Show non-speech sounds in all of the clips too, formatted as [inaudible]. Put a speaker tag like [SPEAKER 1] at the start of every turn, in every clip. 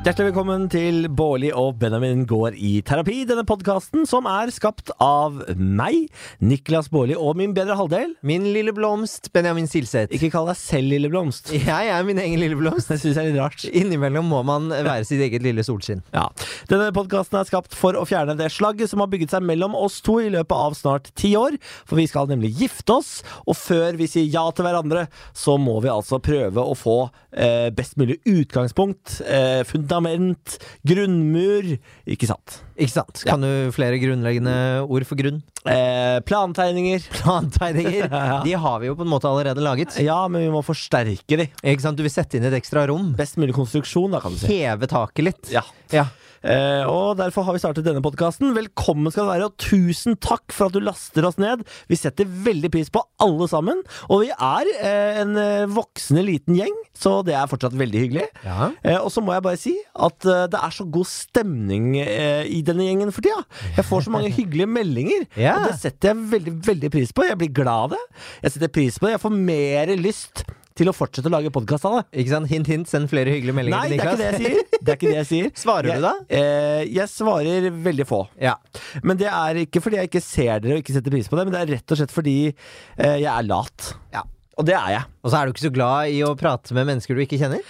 [SPEAKER 1] Hjertelig velkommen til Bårli og Benjamin går i terapi. Denne podkasten som er skapt av meg, Niklas Bårli, og min bedre halvdel.
[SPEAKER 2] Min lille blomst, Benjamin Silseth.
[SPEAKER 1] Ikke kall deg selv Lille Blomst.
[SPEAKER 2] Jeg er min egen lille blomst.
[SPEAKER 1] Det syns [laughs] jeg er litt rart.
[SPEAKER 2] Innimellom må man være sitt eget lille solskinn.
[SPEAKER 1] Ja. Denne podkasten er skapt for å fjerne det slagget som har bygget seg mellom oss to i løpet av snart ti år, for vi skal nemlig gifte oss, og før vi sier ja til hverandre, så må vi altså prøve å få eh, best mulig utgangspunkt, eh, fundament, grunnmur, ikke sant?
[SPEAKER 2] Ikke sant? Kan du flere grunnleggende ord for grunn? [laughs]
[SPEAKER 1] Eh, plantegninger.
[SPEAKER 2] Plantegninger.
[SPEAKER 1] Ja.
[SPEAKER 2] De har vi jo på en måte allerede laget.
[SPEAKER 1] Ja, men vi må forsterke de.
[SPEAKER 2] Ikke sant? Du vil sette inn et ekstra rom.
[SPEAKER 1] Best mulig konstruksjon, da, kan du si.
[SPEAKER 2] Heve taket litt.
[SPEAKER 1] Ja.
[SPEAKER 2] Ja.
[SPEAKER 1] Eh, og derfor har vi startet denne podkasten. Velkommen skal du være, og tusen takk for at du laster oss ned. Vi setter veldig pris på alle sammen, og vi er eh, en eh, voksende liten gjeng, så det er fortsatt veldig hyggelig.
[SPEAKER 2] Ja.
[SPEAKER 1] Eh, og så må jeg bare si at eh, det er så god stemning eh, i denne gjengen for tida. Jeg får så mange hyggelige meldinger,
[SPEAKER 2] [laughs] Ja.
[SPEAKER 1] og det setter jeg veldig, veldig pris på. Jeg blir glad av det. Jeg setter pris på det. Jeg får mer lyst til å fortsette å lage podkast av det.
[SPEAKER 2] Ikke sant? Hint, hint. Send flere hyggelige
[SPEAKER 1] Nei,
[SPEAKER 2] meldinger. til
[SPEAKER 1] det er ikke
[SPEAKER 2] Niklas.
[SPEAKER 1] det jeg sier. [laughs] Det er ikke det jeg sier.
[SPEAKER 2] Svarer du da?
[SPEAKER 1] Jeg, eh, jeg svarer veldig få.
[SPEAKER 2] Ja.
[SPEAKER 1] Men det er ikke fordi jeg ikke ser dere og ikke setter pris på det, men det er rett og slett fordi eh, jeg er lat.
[SPEAKER 2] ja.
[SPEAKER 1] Og det er jeg.
[SPEAKER 2] Og så er du ikke så glad i å prate med mennesker du ikke kjenner.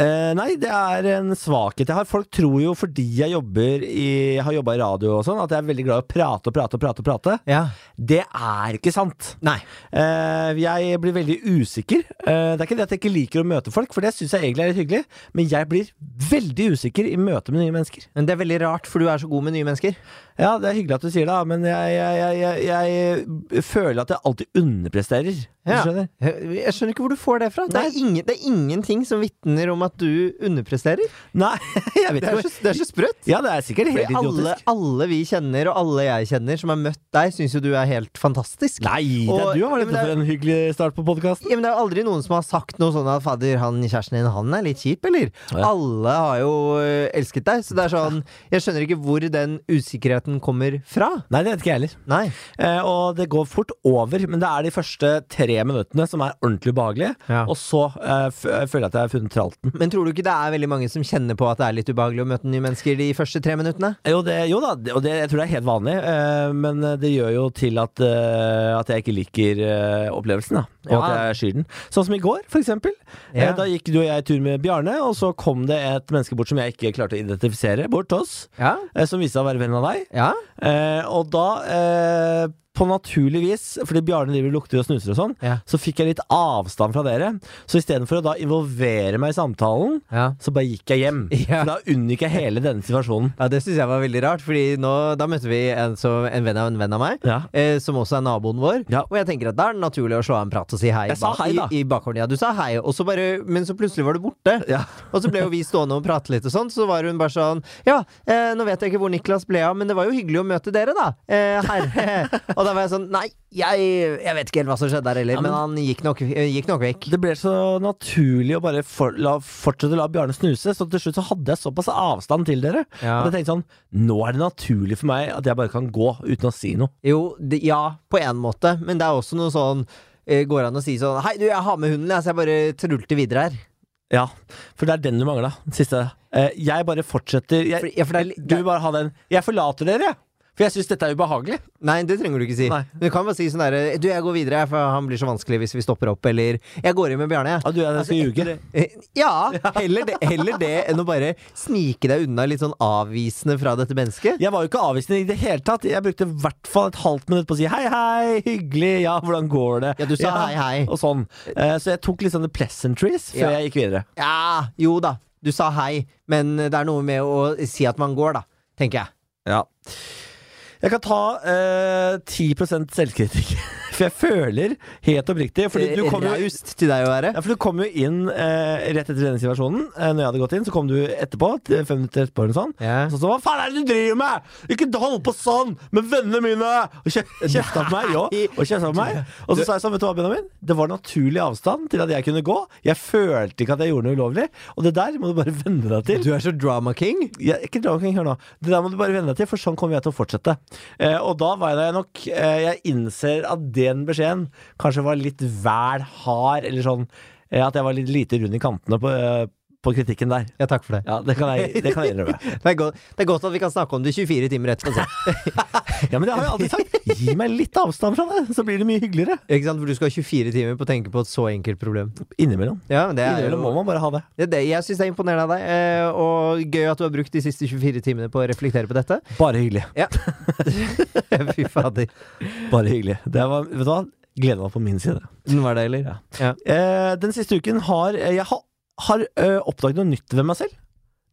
[SPEAKER 1] Eh, nei, det er en svakhet jeg har. Folk tror jo fordi jeg jobber i, har jobba i radio og sånn, at jeg er veldig glad i å prate og prate og prate. og prate.
[SPEAKER 2] Ja.
[SPEAKER 1] Det er ikke sant.
[SPEAKER 2] Nei.
[SPEAKER 1] Eh, jeg blir veldig usikker. Eh, det er ikke det at jeg ikke liker å møte folk, for det syns jeg egentlig er litt hyggelig, men jeg blir veldig usikker i møte med nye mennesker.
[SPEAKER 2] Men det er veldig rart, for du er så god med nye mennesker.
[SPEAKER 1] Ja, det er hyggelig at du sier det, da, men jeg, jeg, jeg, jeg, jeg føler at jeg alltid underpresterer. Hvis
[SPEAKER 2] Ja.
[SPEAKER 1] Du skjønner?
[SPEAKER 2] Jeg skjønner ikke hvor du får det fra. Det er, ingen, det er ingenting som vitner om at du underpresterer.
[SPEAKER 1] Nei, [laughs] jeg vet
[SPEAKER 2] Det er
[SPEAKER 1] ikke.
[SPEAKER 2] så, det er så sprøtt.
[SPEAKER 1] Ja, det er sikkert helt
[SPEAKER 2] Fordi alle,
[SPEAKER 1] idiotisk.
[SPEAKER 2] alle vi kjenner, og alle jeg kjenner som har møtt deg, syns jo du er helt fantastisk.
[SPEAKER 1] Nei, det
[SPEAKER 2] Og-
[SPEAKER 1] er du har
[SPEAKER 2] Ja, men
[SPEAKER 1] dette
[SPEAKER 2] det er-
[SPEAKER 1] for en hyggelig start på podkasten.
[SPEAKER 2] Ja, men Det er jo aldri noen som har sagt noe sånn at 'fadder, han kjæresten din, han er litt kjip', eller?
[SPEAKER 1] Ja.
[SPEAKER 2] Alle har jo ø, elsket deg, så det er sånn Jeg skjønner ikke hvor den usikkerheten kommer fra.
[SPEAKER 1] Nei, det vet ikke jeg heller.
[SPEAKER 2] Nei.
[SPEAKER 1] Eh, og det går fort over, men det er de første tre minuttene som er ordentlig ubehagelige.
[SPEAKER 2] Ja.
[SPEAKER 1] Og så eh, f føler jeg at jeg har funnet tralten.
[SPEAKER 2] Men tror du ikke det er veldig mange som kjenner på at det er litt ubehagelig å møte nye mennesker de første tre minuttene?
[SPEAKER 1] Jo, det, jo da, det- og det, jeg tror det er helt vanlig, eh, men det gjør jo til at, eh, at jeg ikke liker eh, opplevelsen, da. Og
[SPEAKER 2] Ja.
[SPEAKER 1] at jeg skyr den. Sånn som i går, for eksempel.
[SPEAKER 2] Ja.
[SPEAKER 1] Eh, da gikk du og jeg tur med Bjarne, og så kom det et menneske bort som jeg ikke klarte å identifisere, bort til oss.
[SPEAKER 2] Ja.
[SPEAKER 1] eh, Som viste seg å være vennen av deg.
[SPEAKER 2] Ja.
[SPEAKER 1] Eh, og da, eh, på naturlig vis, fordi Bjarne driver og lukter og snuser og sånn,
[SPEAKER 2] Ja.
[SPEAKER 1] så fikk jeg litt avstand fra dere. Så istedenfor å da involvere meg i samtalen,
[SPEAKER 2] ja.
[SPEAKER 1] så bare gikk jeg hjem.
[SPEAKER 2] Ja.
[SPEAKER 1] For da unngikk jeg hele denne situasjonen.
[SPEAKER 2] Ja, Det syns jeg var veldig rart, Fordi nå, da møtte vi en, som, en venn av en venn av meg.
[SPEAKER 1] Ja.
[SPEAKER 2] Eh, som også er naboen vår.
[SPEAKER 1] Ja.
[SPEAKER 2] Og jeg tenker at da er det naturlig å slå av en prat og si hei.
[SPEAKER 1] Jeg sa hei, da.
[SPEAKER 2] I, i bakhånden. Ja, du sa hei, og så bare, men så plutselig var du borte.
[SPEAKER 1] Ja.
[SPEAKER 2] Og så ble jo vi stående og prate litt, og sånn så var hun bare sånn Ja, eh, nå vet jeg ikke hvor Niklas ble av, men det var jo hyggelig å møte dere, da.
[SPEAKER 1] [laughs]
[SPEAKER 2] Eh, herre. og da var jeg sånn Nei, jeg, jeg vet ikke helt hva som skjedde der heller,
[SPEAKER 1] Ja, men-
[SPEAKER 2] men, han gikk nok, eh, gikk nok vekk.
[SPEAKER 1] Det ble så naturlig å bare for, la, fortsette å la Bjarne snuse, så til slutt så hadde jeg såpass avstand til dere.
[SPEAKER 2] Ja.
[SPEAKER 1] At jeg tenkte sånn Nå er det naturlig for meg at jeg bare kan gå uten å si noe.
[SPEAKER 2] Jo, det, ja, på en måte, men det er også noe sånn eh, Går an å si sånn Hei, du, jeg har med hunden, jeg, så jeg bare trulter videre her.
[SPEAKER 1] Ja, for det er den du mangla. Siste. Eh, jeg bare fortsetter. Jeg,
[SPEAKER 2] For- ja, for det er litt-
[SPEAKER 1] du vil bare ha den. Jeg forlater dere, for jeg syns dette er ubehagelig.
[SPEAKER 2] Nei, det trenger du ikke si.
[SPEAKER 1] Nei.
[SPEAKER 2] Du kan bare si sånn derre Du, jeg går videre, jeg, for han blir så vanskelig hvis vi stopper opp, eller Jeg går inn med Bjarne, jeg.
[SPEAKER 1] Ja, du, jeg skal ljuge.
[SPEAKER 2] Eh, Ja, heller det, heller det enn å bare snike deg unna litt sånn avvisende fra dette mennesket.
[SPEAKER 1] Jeg var jo ikke avvisende i det hele tatt. Jeg brukte i hvert fall et halvt minutt på å si hei, hei, hyggelig, ja, hvordan går det?
[SPEAKER 2] Ja, du sa hei, hei.
[SPEAKER 1] Og sånn. Eh, så jeg tok litt sånne pleasantries før
[SPEAKER 2] Ja.
[SPEAKER 1] jeg gikk videre.
[SPEAKER 2] Ja, jo da, du sa hei, men det er noe med å si at man går, da, tenker jeg.
[SPEAKER 1] Ja. Jeg kan ta eh, 10 selvkritikk, [laughs] for jeg føler helt oppriktig Fordi
[SPEAKER 2] Eh,
[SPEAKER 1] du kom jo
[SPEAKER 2] Raust til deg å være.
[SPEAKER 1] Ja, for du kom jo inn eh, rett etter denne situasjonen. Eh, når jeg hadde gått inn, så kom du etterpå. t- Fem minutter etterpå eller noe sånt.
[SPEAKER 2] Ja.
[SPEAKER 1] Og så sa han, hva faen er det du driver med?! Ikke hold på sånn med vennene mine! Og kje- kjefta på meg. Ja, og kjefta på meg. Og så sa jeg sånn, vet du hva, Benjamin? Det var naturlig avstand til at jeg kunne gå. Jeg følte ikke at jeg gjorde noe ulovlig. Og det der må du bare venne deg til.
[SPEAKER 2] Du er så drama king.
[SPEAKER 1] Jeg, ikke dra omkring, hør nå. Det der må du bare venne deg til, for sånn kommer jeg til å fortsette. Eh, og da var jeg nok eh, Jeg innser at den beskjeden kanskje var litt vel hard, eller sånn eh, at jeg var litt lite rund i kantene på, eh, på kritikken der.
[SPEAKER 2] Ja, takk for det.
[SPEAKER 1] Ja, det kan jeg, det kan jeg innrømme.
[SPEAKER 2] Det er, godt, det er godt at vi kan snakke om det 24 timer etterpå. altså. så.
[SPEAKER 1] [laughs] Ja, men det har jeg alltid sagt. Gi meg litt avstand fra det, så blir det mye hyggeligere.
[SPEAKER 2] Ikke sant? For du skal ha 24 timer på å tenke på et så enkelt problem.
[SPEAKER 1] Innimellom.
[SPEAKER 2] Ja, men det er
[SPEAKER 1] Innimellom må
[SPEAKER 2] jo
[SPEAKER 1] man bare ha det.
[SPEAKER 2] det, er det, Jeg syns det er imponerende av deg, eh, og gøy at du har brukt de siste 24 timene på å reflektere på [laughs] dette.
[SPEAKER 1] Bare hyggelig.
[SPEAKER 2] Fy fader.
[SPEAKER 1] Bare hyggelig. Det var, vet du hva? Gleden var på min side.
[SPEAKER 2] Den var deilig. Ja. Ja.
[SPEAKER 1] Eh, den siste uken har eh, jeg ha, har eh, oppdaget noe nytt ved meg selv.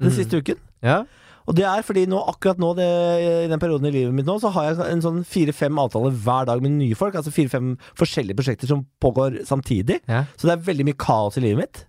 [SPEAKER 1] Den
[SPEAKER 2] Mhm.
[SPEAKER 1] siste uken.
[SPEAKER 2] Ja.
[SPEAKER 1] Og det er fordi nå, akkurat nå, det, i den perioden i livet mitt nå, så har jeg en sånn fire-fem avtaler hver dag med nye folk. Altså fire-fem forskjellige prosjekter som pågår samtidig.
[SPEAKER 2] Ja.
[SPEAKER 1] Så det er veldig mye kaos i livet mitt.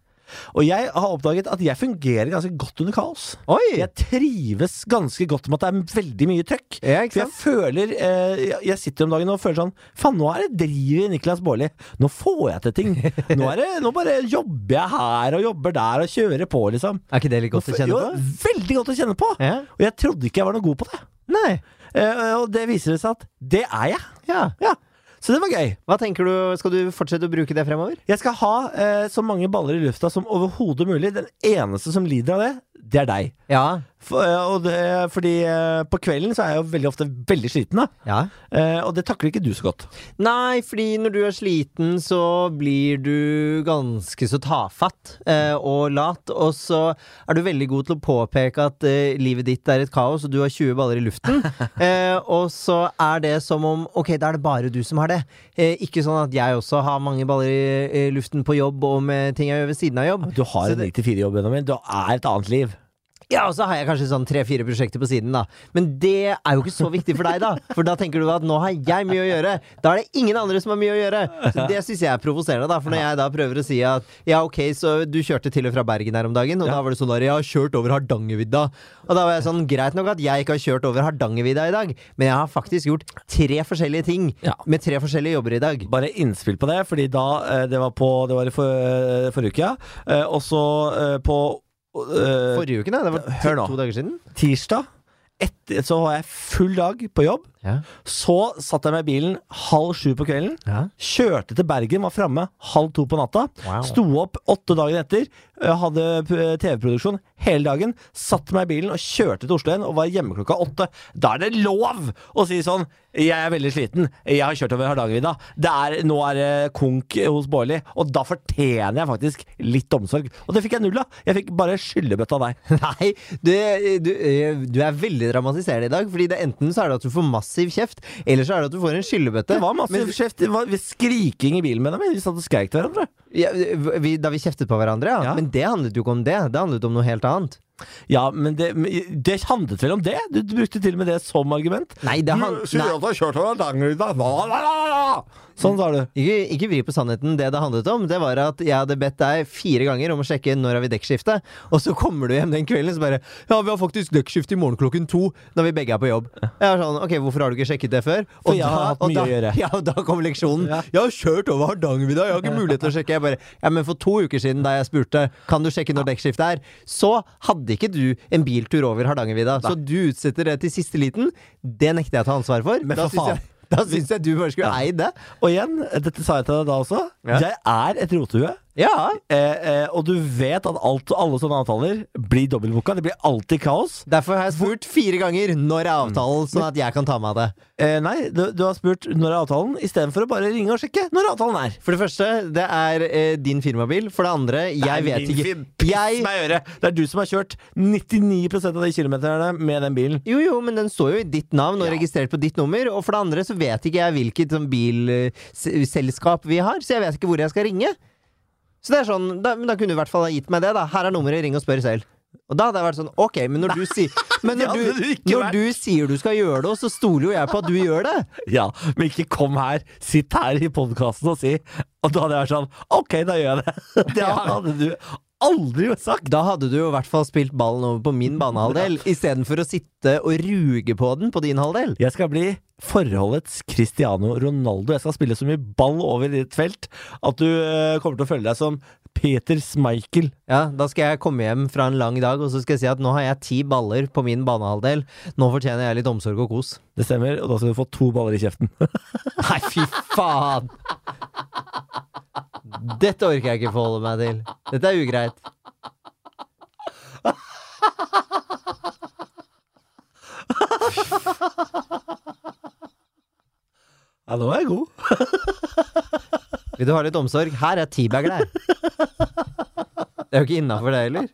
[SPEAKER 1] Og jeg har oppdaget at jeg fungerer ganske godt under kaos.
[SPEAKER 2] Oi!
[SPEAKER 1] Jeg trives ganske godt med at det er veldig mye trøkk.
[SPEAKER 2] Ja, ikke
[SPEAKER 1] For jeg
[SPEAKER 2] sant?
[SPEAKER 1] føler eh, jeg- Jeg sitter om dagen og føler sånn Faen, nå er det driv i Niklas Baarli. Nå får jeg til ting. Nå, er det, nå bare jobber jeg her og jobber der og kjører på, liksom.
[SPEAKER 2] Er ikke det litt godt å kjenne
[SPEAKER 1] Jo,
[SPEAKER 2] på?
[SPEAKER 1] veldig godt å kjenne på.
[SPEAKER 2] Ja.
[SPEAKER 1] Og jeg trodde ikke jeg var noe god på det.
[SPEAKER 2] Nei.
[SPEAKER 1] Eh, og det viser det seg at det er jeg.
[SPEAKER 2] Ja.
[SPEAKER 1] Ja. Så det var gøy.
[SPEAKER 2] Hva tenker du, Skal du fortsette å bruke det fremover?
[SPEAKER 1] Jeg skal ha eh, så mange baller i lufta som overhodet mulig. Den eneste som lider av det, det er deg.
[SPEAKER 2] Ja.
[SPEAKER 1] For, eh, og det, fordi eh, på kvelden så er jeg jo veldig ofte veldig sliten, da.
[SPEAKER 2] ja.
[SPEAKER 1] Eh, og det takler ikke du så godt.
[SPEAKER 2] Nei, fordi når du er sliten, så blir du ganske så tafatt eh, og lat. Og så er du veldig god til å påpeke at eh, livet ditt er et kaos, og du har 20 baller i luften. Eh, og så er det som om Ok, da er det bare du som har det. Eh, ikke sånn at jeg også har mange baller i, i luften på jobb og med ting jeg gjør ved siden av jobb.
[SPEAKER 1] Du har
[SPEAKER 2] Så
[SPEAKER 1] en 9-4-jobb, Benjamin. Du er et annet liv.
[SPEAKER 2] Ja, og så har jeg kanskje sånn tre-fire prosjekter på siden, da. Men det er jo ikke så viktig for deg, da. For da tenker du at nå har jeg mye å gjøre. Da er det ingen andre som har mye å gjøre. Så det syns jeg er provoserende, da. For når jeg da prøver å si at ja, ok, så du kjørte til og fra Bergen her om dagen, og da var det sånn der jeg har kjørt over Hardangervidda. Og da var jeg sånn greit nok at jeg ikke har kjørt over Hardangervidda i dag, men jeg har faktisk gjort tre forskjellige ting
[SPEAKER 1] Ja.
[SPEAKER 2] med tre forskjellige jobber i dag.
[SPEAKER 1] Bare innspill på det, fordi da eh, Det var, på, det var i for, eh, forrige uke, ja. Eh, og så eh, på eh,
[SPEAKER 2] Forrige uke, nei. Det var
[SPEAKER 1] Hør nå.
[SPEAKER 2] to dager siden.
[SPEAKER 1] tirsdag etter, så var jeg full dag på jobb.
[SPEAKER 2] Ja.
[SPEAKER 1] Så satt jeg meg i bilen halv sju på kvelden.
[SPEAKER 2] Ja.
[SPEAKER 1] Kjørte til Bergen, var framme halv to på natta.
[SPEAKER 2] Wow.
[SPEAKER 1] Sto opp åtte dagen etter, eh, hadde eh, TV-produksjon hele dagen. Satte meg i bilen og kjørte til Oslo igjen og var hjemme klokka åtte. Da er det lov å si sånn Jeg er veldig sliten. Jeg har kjørt over Hardangervidda. Det er- Nå er det konk hos Bårli. Og da fortjener jeg faktisk litt omsorg. Og det fikk jeg null av. Jeg fikk bare skyllebøtte av deg.
[SPEAKER 2] [laughs] Nei, du, du, du er veldig dramatiserende i dag. Fordi det enten så er det at du får massiv kjeft, eller så er det at du får en skyllebøtte.
[SPEAKER 1] Det var masse kjeft. Det var skriking i bilen med dem. Vi satt og skreik til hverandre.
[SPEAKER 2] Ja, vi, da vi kjeftet på hverandre, ja.
[SPEAKER 1] Ja.
[SPEAKER 2] Men det handlet jo ikke om det. Det handlet om noe helt annet.
[SPEAKER 1] Ja, men det, men det handlet vel om det? Du brukte til og med det som argument.
[SPEAKER 2] Nei, det han, nei
[SPEAKER 1] du har kjørt over Hardangervidda. Sånn sa du.
[SPEAKER 2] ikke, ikke vri på sannheten. Det det handlet om, det var at jeg hadde bedt deg fire ganger om å sjekke når har vi dekkskifte, og så kommer du hjem den kvelden så bare Ja, vi har faktisk dekkskifte i morgen klokken to, når vi begge er på jobb. Jeg er sånn, ok, hvorfor har du ikke sjekket det før?
[SPEAKER 1] For jeg har hatt
[SPEAKER 2] og
[SPEAKER 1] mye
[SPEAKER 2] da,
[SPEAKER 1] å gjøre.
[SPEAKER 2] [laughs] Ja, og da kom leksjonen.
[SPEAKER 1] Ja.
[SPEAKER 2] Jeg har kjørt over Hardangervidda, jeg har ikke mulighet til å sjekke. Jeg bare, ja, men for to uker siden, da jeg spurte kan du sjekke når dekkskiftet er, så hadde ikke du en biltur over Hardangervidda. Så du utsetter det til siste liten. Det nekter jeg å ta ansvar for.
[SPEAKER 1] Men
[SPEAKER 2] da
[SPEAKER 1] for faen.
[SPEAKER 2] syns jeg, da syns jeg du bare skulle eid det.
[SPEAKER 1] Og igjen, dette sa jeg til deg da også.
[SPEAKER 2] Ja.
[SPEAKER 1] Jeg er et rotehue.
[SPEAKER 2] Ja,
[SPEAKER 1] Eh, eh, og du vet at alt, alle sånne avtaler blir dobbeltbooka. Det blir alltid kaos.
[SPEAKER 2] Derfor har jeg spurt fire ganger
[SPEAKER 1] Mm.
[SPEAKER 2] når er avtalen, sånn at jeg kan ta meg av det.
[SPEAKER 1] Eh, nei, du, du har spurt når er avtalen, istedenfor å bare ringe og sjekke når avtalen er.
[SPEAKER 2] For det første, det er eh, din firmabil. For det andre, jeg
[SPEAKER 1] Nei,
[SPEAKER 2] vet
[SPEAKER 1] din
[SPEAKER 2] ikke
[SPEAKER 1] fin- Piss
[SPEAKER 2] jeg,
[SPEAKER 1] meg i øret. Det er du som har kjørt 99 av de kilometerne med den bilen.
[SPEAKER 2] Jo, jo, men den står jo i ditt navn og
[SPEAKER 1] Ja.
[SPEAKER 2] registrert på ditt nummer. Og for det andre så vet ikke jeg hvilket sånn bilselskap vi har, så jeg vet ikke hvor jeg skal ringe. Så det er sånn, da, men da kunne du i hvert fall ha gitt meg det, da. Her er nummeret, ring og spør selv. Og da hadde jeg vært sånn, ok, men når du sier Men
[SPEAKER 1] [laughs] Det
[SPEAKER 2] når
[SPEAKER 1] hadde
[SPEAKER 2] du,
[SPEAKER 1] du ikke vært.
[SPEAKER 2] når du sier du skal gjøre det, så stoler jo jeg på at du gjør det.
[SPEAKER 1] Ja, men ikke kom her, sitt her i podkasten og si Og da hadde jeg vært sånn Ok, da gjør jeg det. [laughs] Det hadde du aldri sagt.
[SPEAKER 2] Da hadde du jo i hvert fall spilt ballen over på min banehalvdel, istedenfor å sitte og ruge på den på din halvdel.
[SPEAKER 1] Jeg skal bli forholdets Cristiano Ronaldo. Jeg skal spille så mye ball over i ditt felt at du eh, kommer til å føle deg som Peter Schmeichel.
[SPEAKER 2] Ja, Da skal jeg komme hjem fra en lang dag og så skal jeg si at nå har jeg ti baller på min banehalvdel. Nå fortjener jeg litt omsorg og kos.
[SPEAKER 1] Det stemmer, og da skal du få to baller i kjeften. [laughs]
[SPEAKER 2] Nei, fy faen! Dette orker jeg ikke forholde meg til. Dette er ugreit.
[SPEAKER 1] Ja, nå er jeg god.
[SPEAKER 2] Vil du ha litt omsorg? Her er teabager der. Det er jo ikke innafor det heller.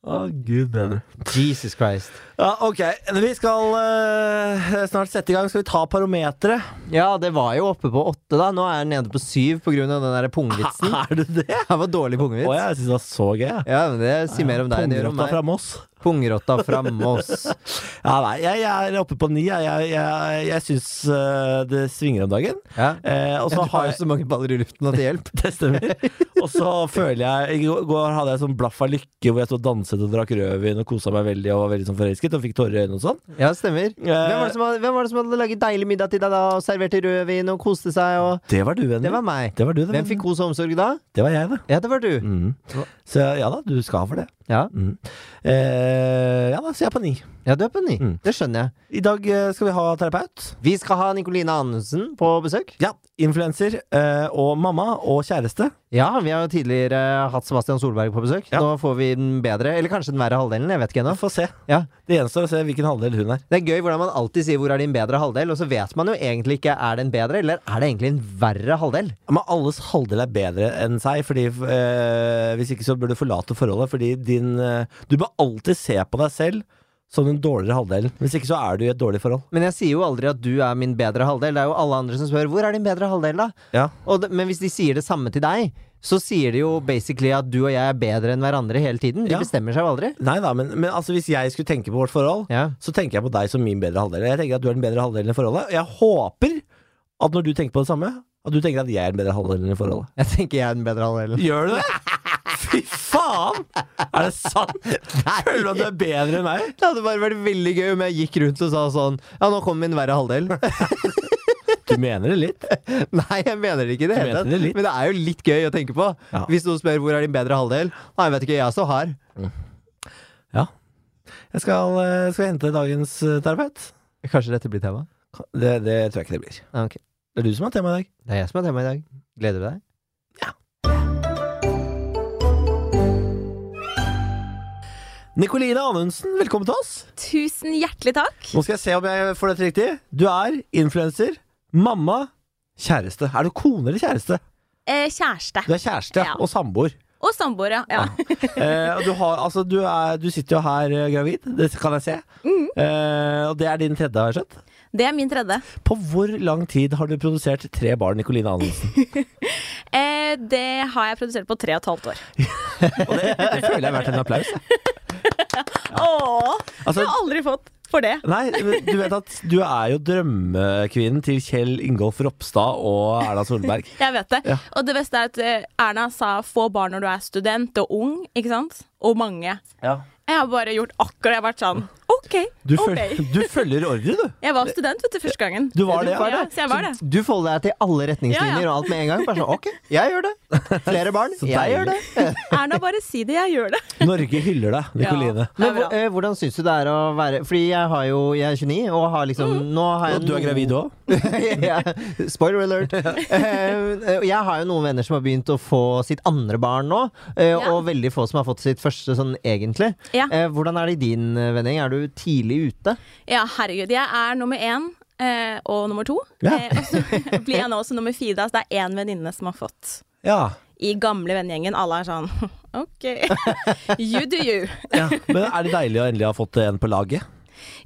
[SPEAKER 1] Å, gud bedre.
[SPEAKER 2] Jesus Christ.
[SPEAKER 1] Ja, ok. Vi skal eh, snart sette i gang. Skal vi ta
[SPEAKER 2] [laughs]
[SPEAKER 1] parometeret?
[SPEAKER 2] Ja, det var jo oppe på åtte, da. Nå er den nede på syv pga. den der pungvitsen.
[SPEAKER 1] [laughs] Er det det?
[SPEAKER 2] Det var dårlig
[SPEAKER 1] Å,
[SPEAKER 2] pungvits.
[SPEAKER 1] jeg syns det var så gøy. jeg.
[SPEAKER 2] Ja, men det sier mer om deg enn det gjør om
[SPEAKER 1] Pungrotta
[SPEAKER 2] meg.
[SPEAKER 1] fra Moss.
[SPEAKER 2] Pungrotta fra Moss.
[SPEAKER 1] Ja, nei, jeg, jeg er oppe på ni. Jeg, jeg, jeg, jeg syns eh, det svinger om dagen.
[SPEAKER 2] Ja.
[SPEAKER 1] Eh, og så [laughs]
[SPEAKER 2] Du
[SPEAKER 1] har
[SPEAKER 2] har jo
[SPEAKER 1] jeg
[SPEAKER 2] så mange baller i luften at det hjelper.
[SPEAKER 1] Det stemmer. Og så føler jeg I går- går hadde jeg sånn blaff av lykke hvor jeg stod og danset og drakk rødvin og kosa meg veldig og var veldig sånn forelsket og fikk tårer i øynene og sånn.
[SPEAKER 2] Ja, stemmer. Hvem var, det som hadde, hvem var det som hadde laget deilig middag til deg da, og serverte rødvin og koste seg og
[SPEAKER 1] Det var du, vennen.
[SPEAKER 2] Det var meg.
[SPEAKER 1] Det var du, det.
[SPEAKER 2] Hvem fikk kos og omsorg da?
[SPEAKER 1] Det var jeg, det.
[SPEAKER 2] Mm. Ja, det var du.
[SPEAKER 1] Mm. Så ja da, du skal ha for det.
[SPEAKER 2] Ja,
[SPEAKER 1] Mm. Eh, ja da, så jeg er på ni.
[SPEAKER 2] ja du er på ni.
[SPEAKER 1] Mm.
[SPEAKER 2] Det skjønner jeg.
[SPEAKER 1] I dag eh, skal vi ha terapeut.
[SPEAKER 2] Vi skal ha Nicoline Anundsen på besøk.
[SPEAKER 1] Ja, influenser eh, og mamma og kjæreste.
[SPEAKER 2] Ja, vi har jo tidligere hatt Sebastian Solberg på besøk.
[SPEAKER 1] Ja.
[SPEAKER 2] Nå får vi den bedre, eller kanskje den verre halvdelen. Jeg vet ikke ennå.
[SPEAKER 1] Få se.
[SPEAKER 2] Ja.
[SPEAKER 1] Det gjenstår å se hvilken halvdel hun er.
[SPEAKER 2] Det er gøy hvordan man alltid sier 'hvor er din bedre halvdel', og så vet man jo egentlig ikke er det en bedre, eller er det egentlig en verre halvdel?
[SPEAKER 1] Men alles halvdel er bedre enn seg, Fordi eh, hvis ikke så burde du forlate forholdet. Fordi din eh, Du bør alltid se på deg selv som den dårligere halvdelen. Hvis ikke så er du i et dårlig forhold.
[SPEAKER 2] Men jeg sier jo aldri at du er min bedre halvdel. Det er jo alle andre som spør 'hvor er din bedre halvdel', da?
[SPEAKER 1] Ja.
[SPEAKER 2] Og det, men hvis de sier det samme til deg, så sier de jo basically at du og jeg er bedre enn hverandre hele tiden. De
[SPEAKER 1] Ja.
[SPEAKER 2] bestemmer seg jo aldri.
[SPEAKER 1] Nei da, men, men altså, hvis jeg skulle tenke på vårt forhold,
[SPEAKER 2] Ja.
[SPEAKER 1] så tenker jeg på deg som min bedre halvdel. Jeg tenker at du er den bedre halvdelen i forholdet. Og jeg håper at når du tenker på det samme, at du tenker at jeg er den bedre halvdelen i forholdet.
[SPEAKER 2] Jeg tenker jeg er den bedre
[SPEAKER 1] [laughs]
[SPEAKER 2] halvdelen.
[SPEAKER 1] Gjør du det? Fy faen! Er det sant? Føler du at du er bedre enn meg?
[SPEAKER 2] Det hadde bare vært veldig gøy om jeg gikk rundt og sa sånn Ja, nå kommer min verre
[SPEAKER 1] [laughs]
[SPEAKER 2] halvdel.
[SPEAKER 1] Du mener det litt.
[SPEAKER 2] Nei, jeg mener det ikke. i Det
[SPEAKER 1] Du
[SPEAKER 2] hele
[SPEAKER 1] mente
[SPEAKER 2] tatt.
[SPEAKER 1] det litt.
[SPEAKER 2] Men det er jo litt gøy å tenke på.
[SPEAKER 1] Ja.
[SPEAKER 2] Hvis noen spør hvor er din bedre halvdel Nei, jeg vet ikke, jeg er så hard.
[SPEAKER 1] Ja. Jeg skal, eh, skal jeg hente dagens eh, terapeut.
[SPEAKER 2] Kanskje dette blir tema?
[SPEAKER 1] Det, det tror jeg ikke det blir.
[SPEAKER 2] Ja, Ah, ok.
[SPEAKER 1] Det er du som har tema i dag.
[SPEAKER 2] Det er jeg som er tema i dag. Gleder du deg?
[SPEAKER 1] Nikoline Anundsen, velkommen til oss.
[SPEAKER 3] Tusen hjertelig takk.
[SPEAKER 1] Nå skal jeg se om jeg får dette riktig. Du er influenser, mamma, kjæreste. Er du kone eller kjæreste?
[SPEAKER 3] Eh, kjæreste.
[SPEAKER 1] Du er kjæreste
[SPEAKER 3] Ja.
[SPEAKER 1] og samboer.
[SPEAKER 3] Og samboer, ja. ja.
[SPEAKER 1] Eh, og du, har, altså, du, er, du sitter jo her eh, gravid, det kan jeg se. Eh, og det er din tredje, har jeg skjønt?
[SPEAKER 3] Det er min tredje.
[SPEAKER 1] På hvor lang tid har du produsert tre barn, Nikoline Anundsen?
[SPEAKER 3] Eh, det har jeg produsert på tre og et halvt år.
[SPEAKER 1] Og det, det føler jeg er verdt en applaus. jeg.
[SPEAKER 3] Åh,
[SPEAKER 1] Altså,
[SPEAKER 3] jeg har aldri fått for det.
[SPEAKER 1] nei, men du vet at du er jo drømmekvinnen til Kjell Ingolf Ropstad og Erna Solberg.
[SPEAKER 3] Jeg vet det.
[SPEAKER 1] Ja.
[SPEAKER 3] Og det beste er at eh, Erna sa 'få barn når du er student og ung', ikke sant? Og mange. Jeg har bare gjort akkurat Jeg har vært sånn OK,
[SPEAKER 1] Du,
[SPEAKER 3] OK.
[SPEAKER 1] følger, [laughs] du følger ordre, du.
[SPEAKER 3] Jeg var student, vet du, første gangen.
[SPEAKER 1] Du var det, ja.
[SPEAKER 3] ja. Så jeg var det.
[SPEAKER 2] Du folder deg til alle retningslinjer
[SPEAKER 3] Ja, ja.
[SPEAKER 2] og alt med en gang. Bare sånn, ok, jeg
[SPEAKER 3] [laughs]
[SPEAKER 2] gjør det. Flere barn,
[SPEAKER 1] Så
[SPEAKER 2] jeg gjør det.
[SPEAKER 1] deilig.
[SPEAKER 3] Erna, bare si det. Jeg gjør det.
[SPEAKER 1] Norge hyller deg, Nikoline.
[SPEAKER 3] Ja, det
[SPEAKER 2] Men
[SPEAKER 3] er bra.
[SPEAKER 2] hvor- eh, hvordan syns du det er å være Fordi jeg har jo Jeg er 29 og har liksom
[SPEAKER 3] Mm.
[SPEAKER 2] Nå har jeg
[SPEAKER 1] Og du er gravid òg?
[SPEAKER 2] [laughs] ja, spoiler
[SPEAKER 1] [laughs]
[SPEAKER 2] alert. Eh, og jeg har jo noen venner som har begynt å få sitt andre barn nå, eh,
[SPEAKER 3] Ja.
[SPEAKER 2] og veldig få som har fått sitt første sånn egentlig.
[SPEAKER 3] Ja.
[SPEAKER 2] Eh, hvordan er det i din eh, vending? Er du tidlig ute?
[SPEAKER 3] Ja, herregud. Jeg er nummer én eh, og nummer to.
[SPEAKER 1] Ja.
[SPEAKER 3] Eh, og så [laughs] blir jeg nå også nummer fire. da, Så det er én venninne som har fått.
[SPEAKER 1] Ja.
[SPEAKER 3] I gamle vennegjengen. Alle er sånn [laughs] OK, you do you.
[SPEAKER 1] ja. Men er det deilig å endelig ha fått en på laget?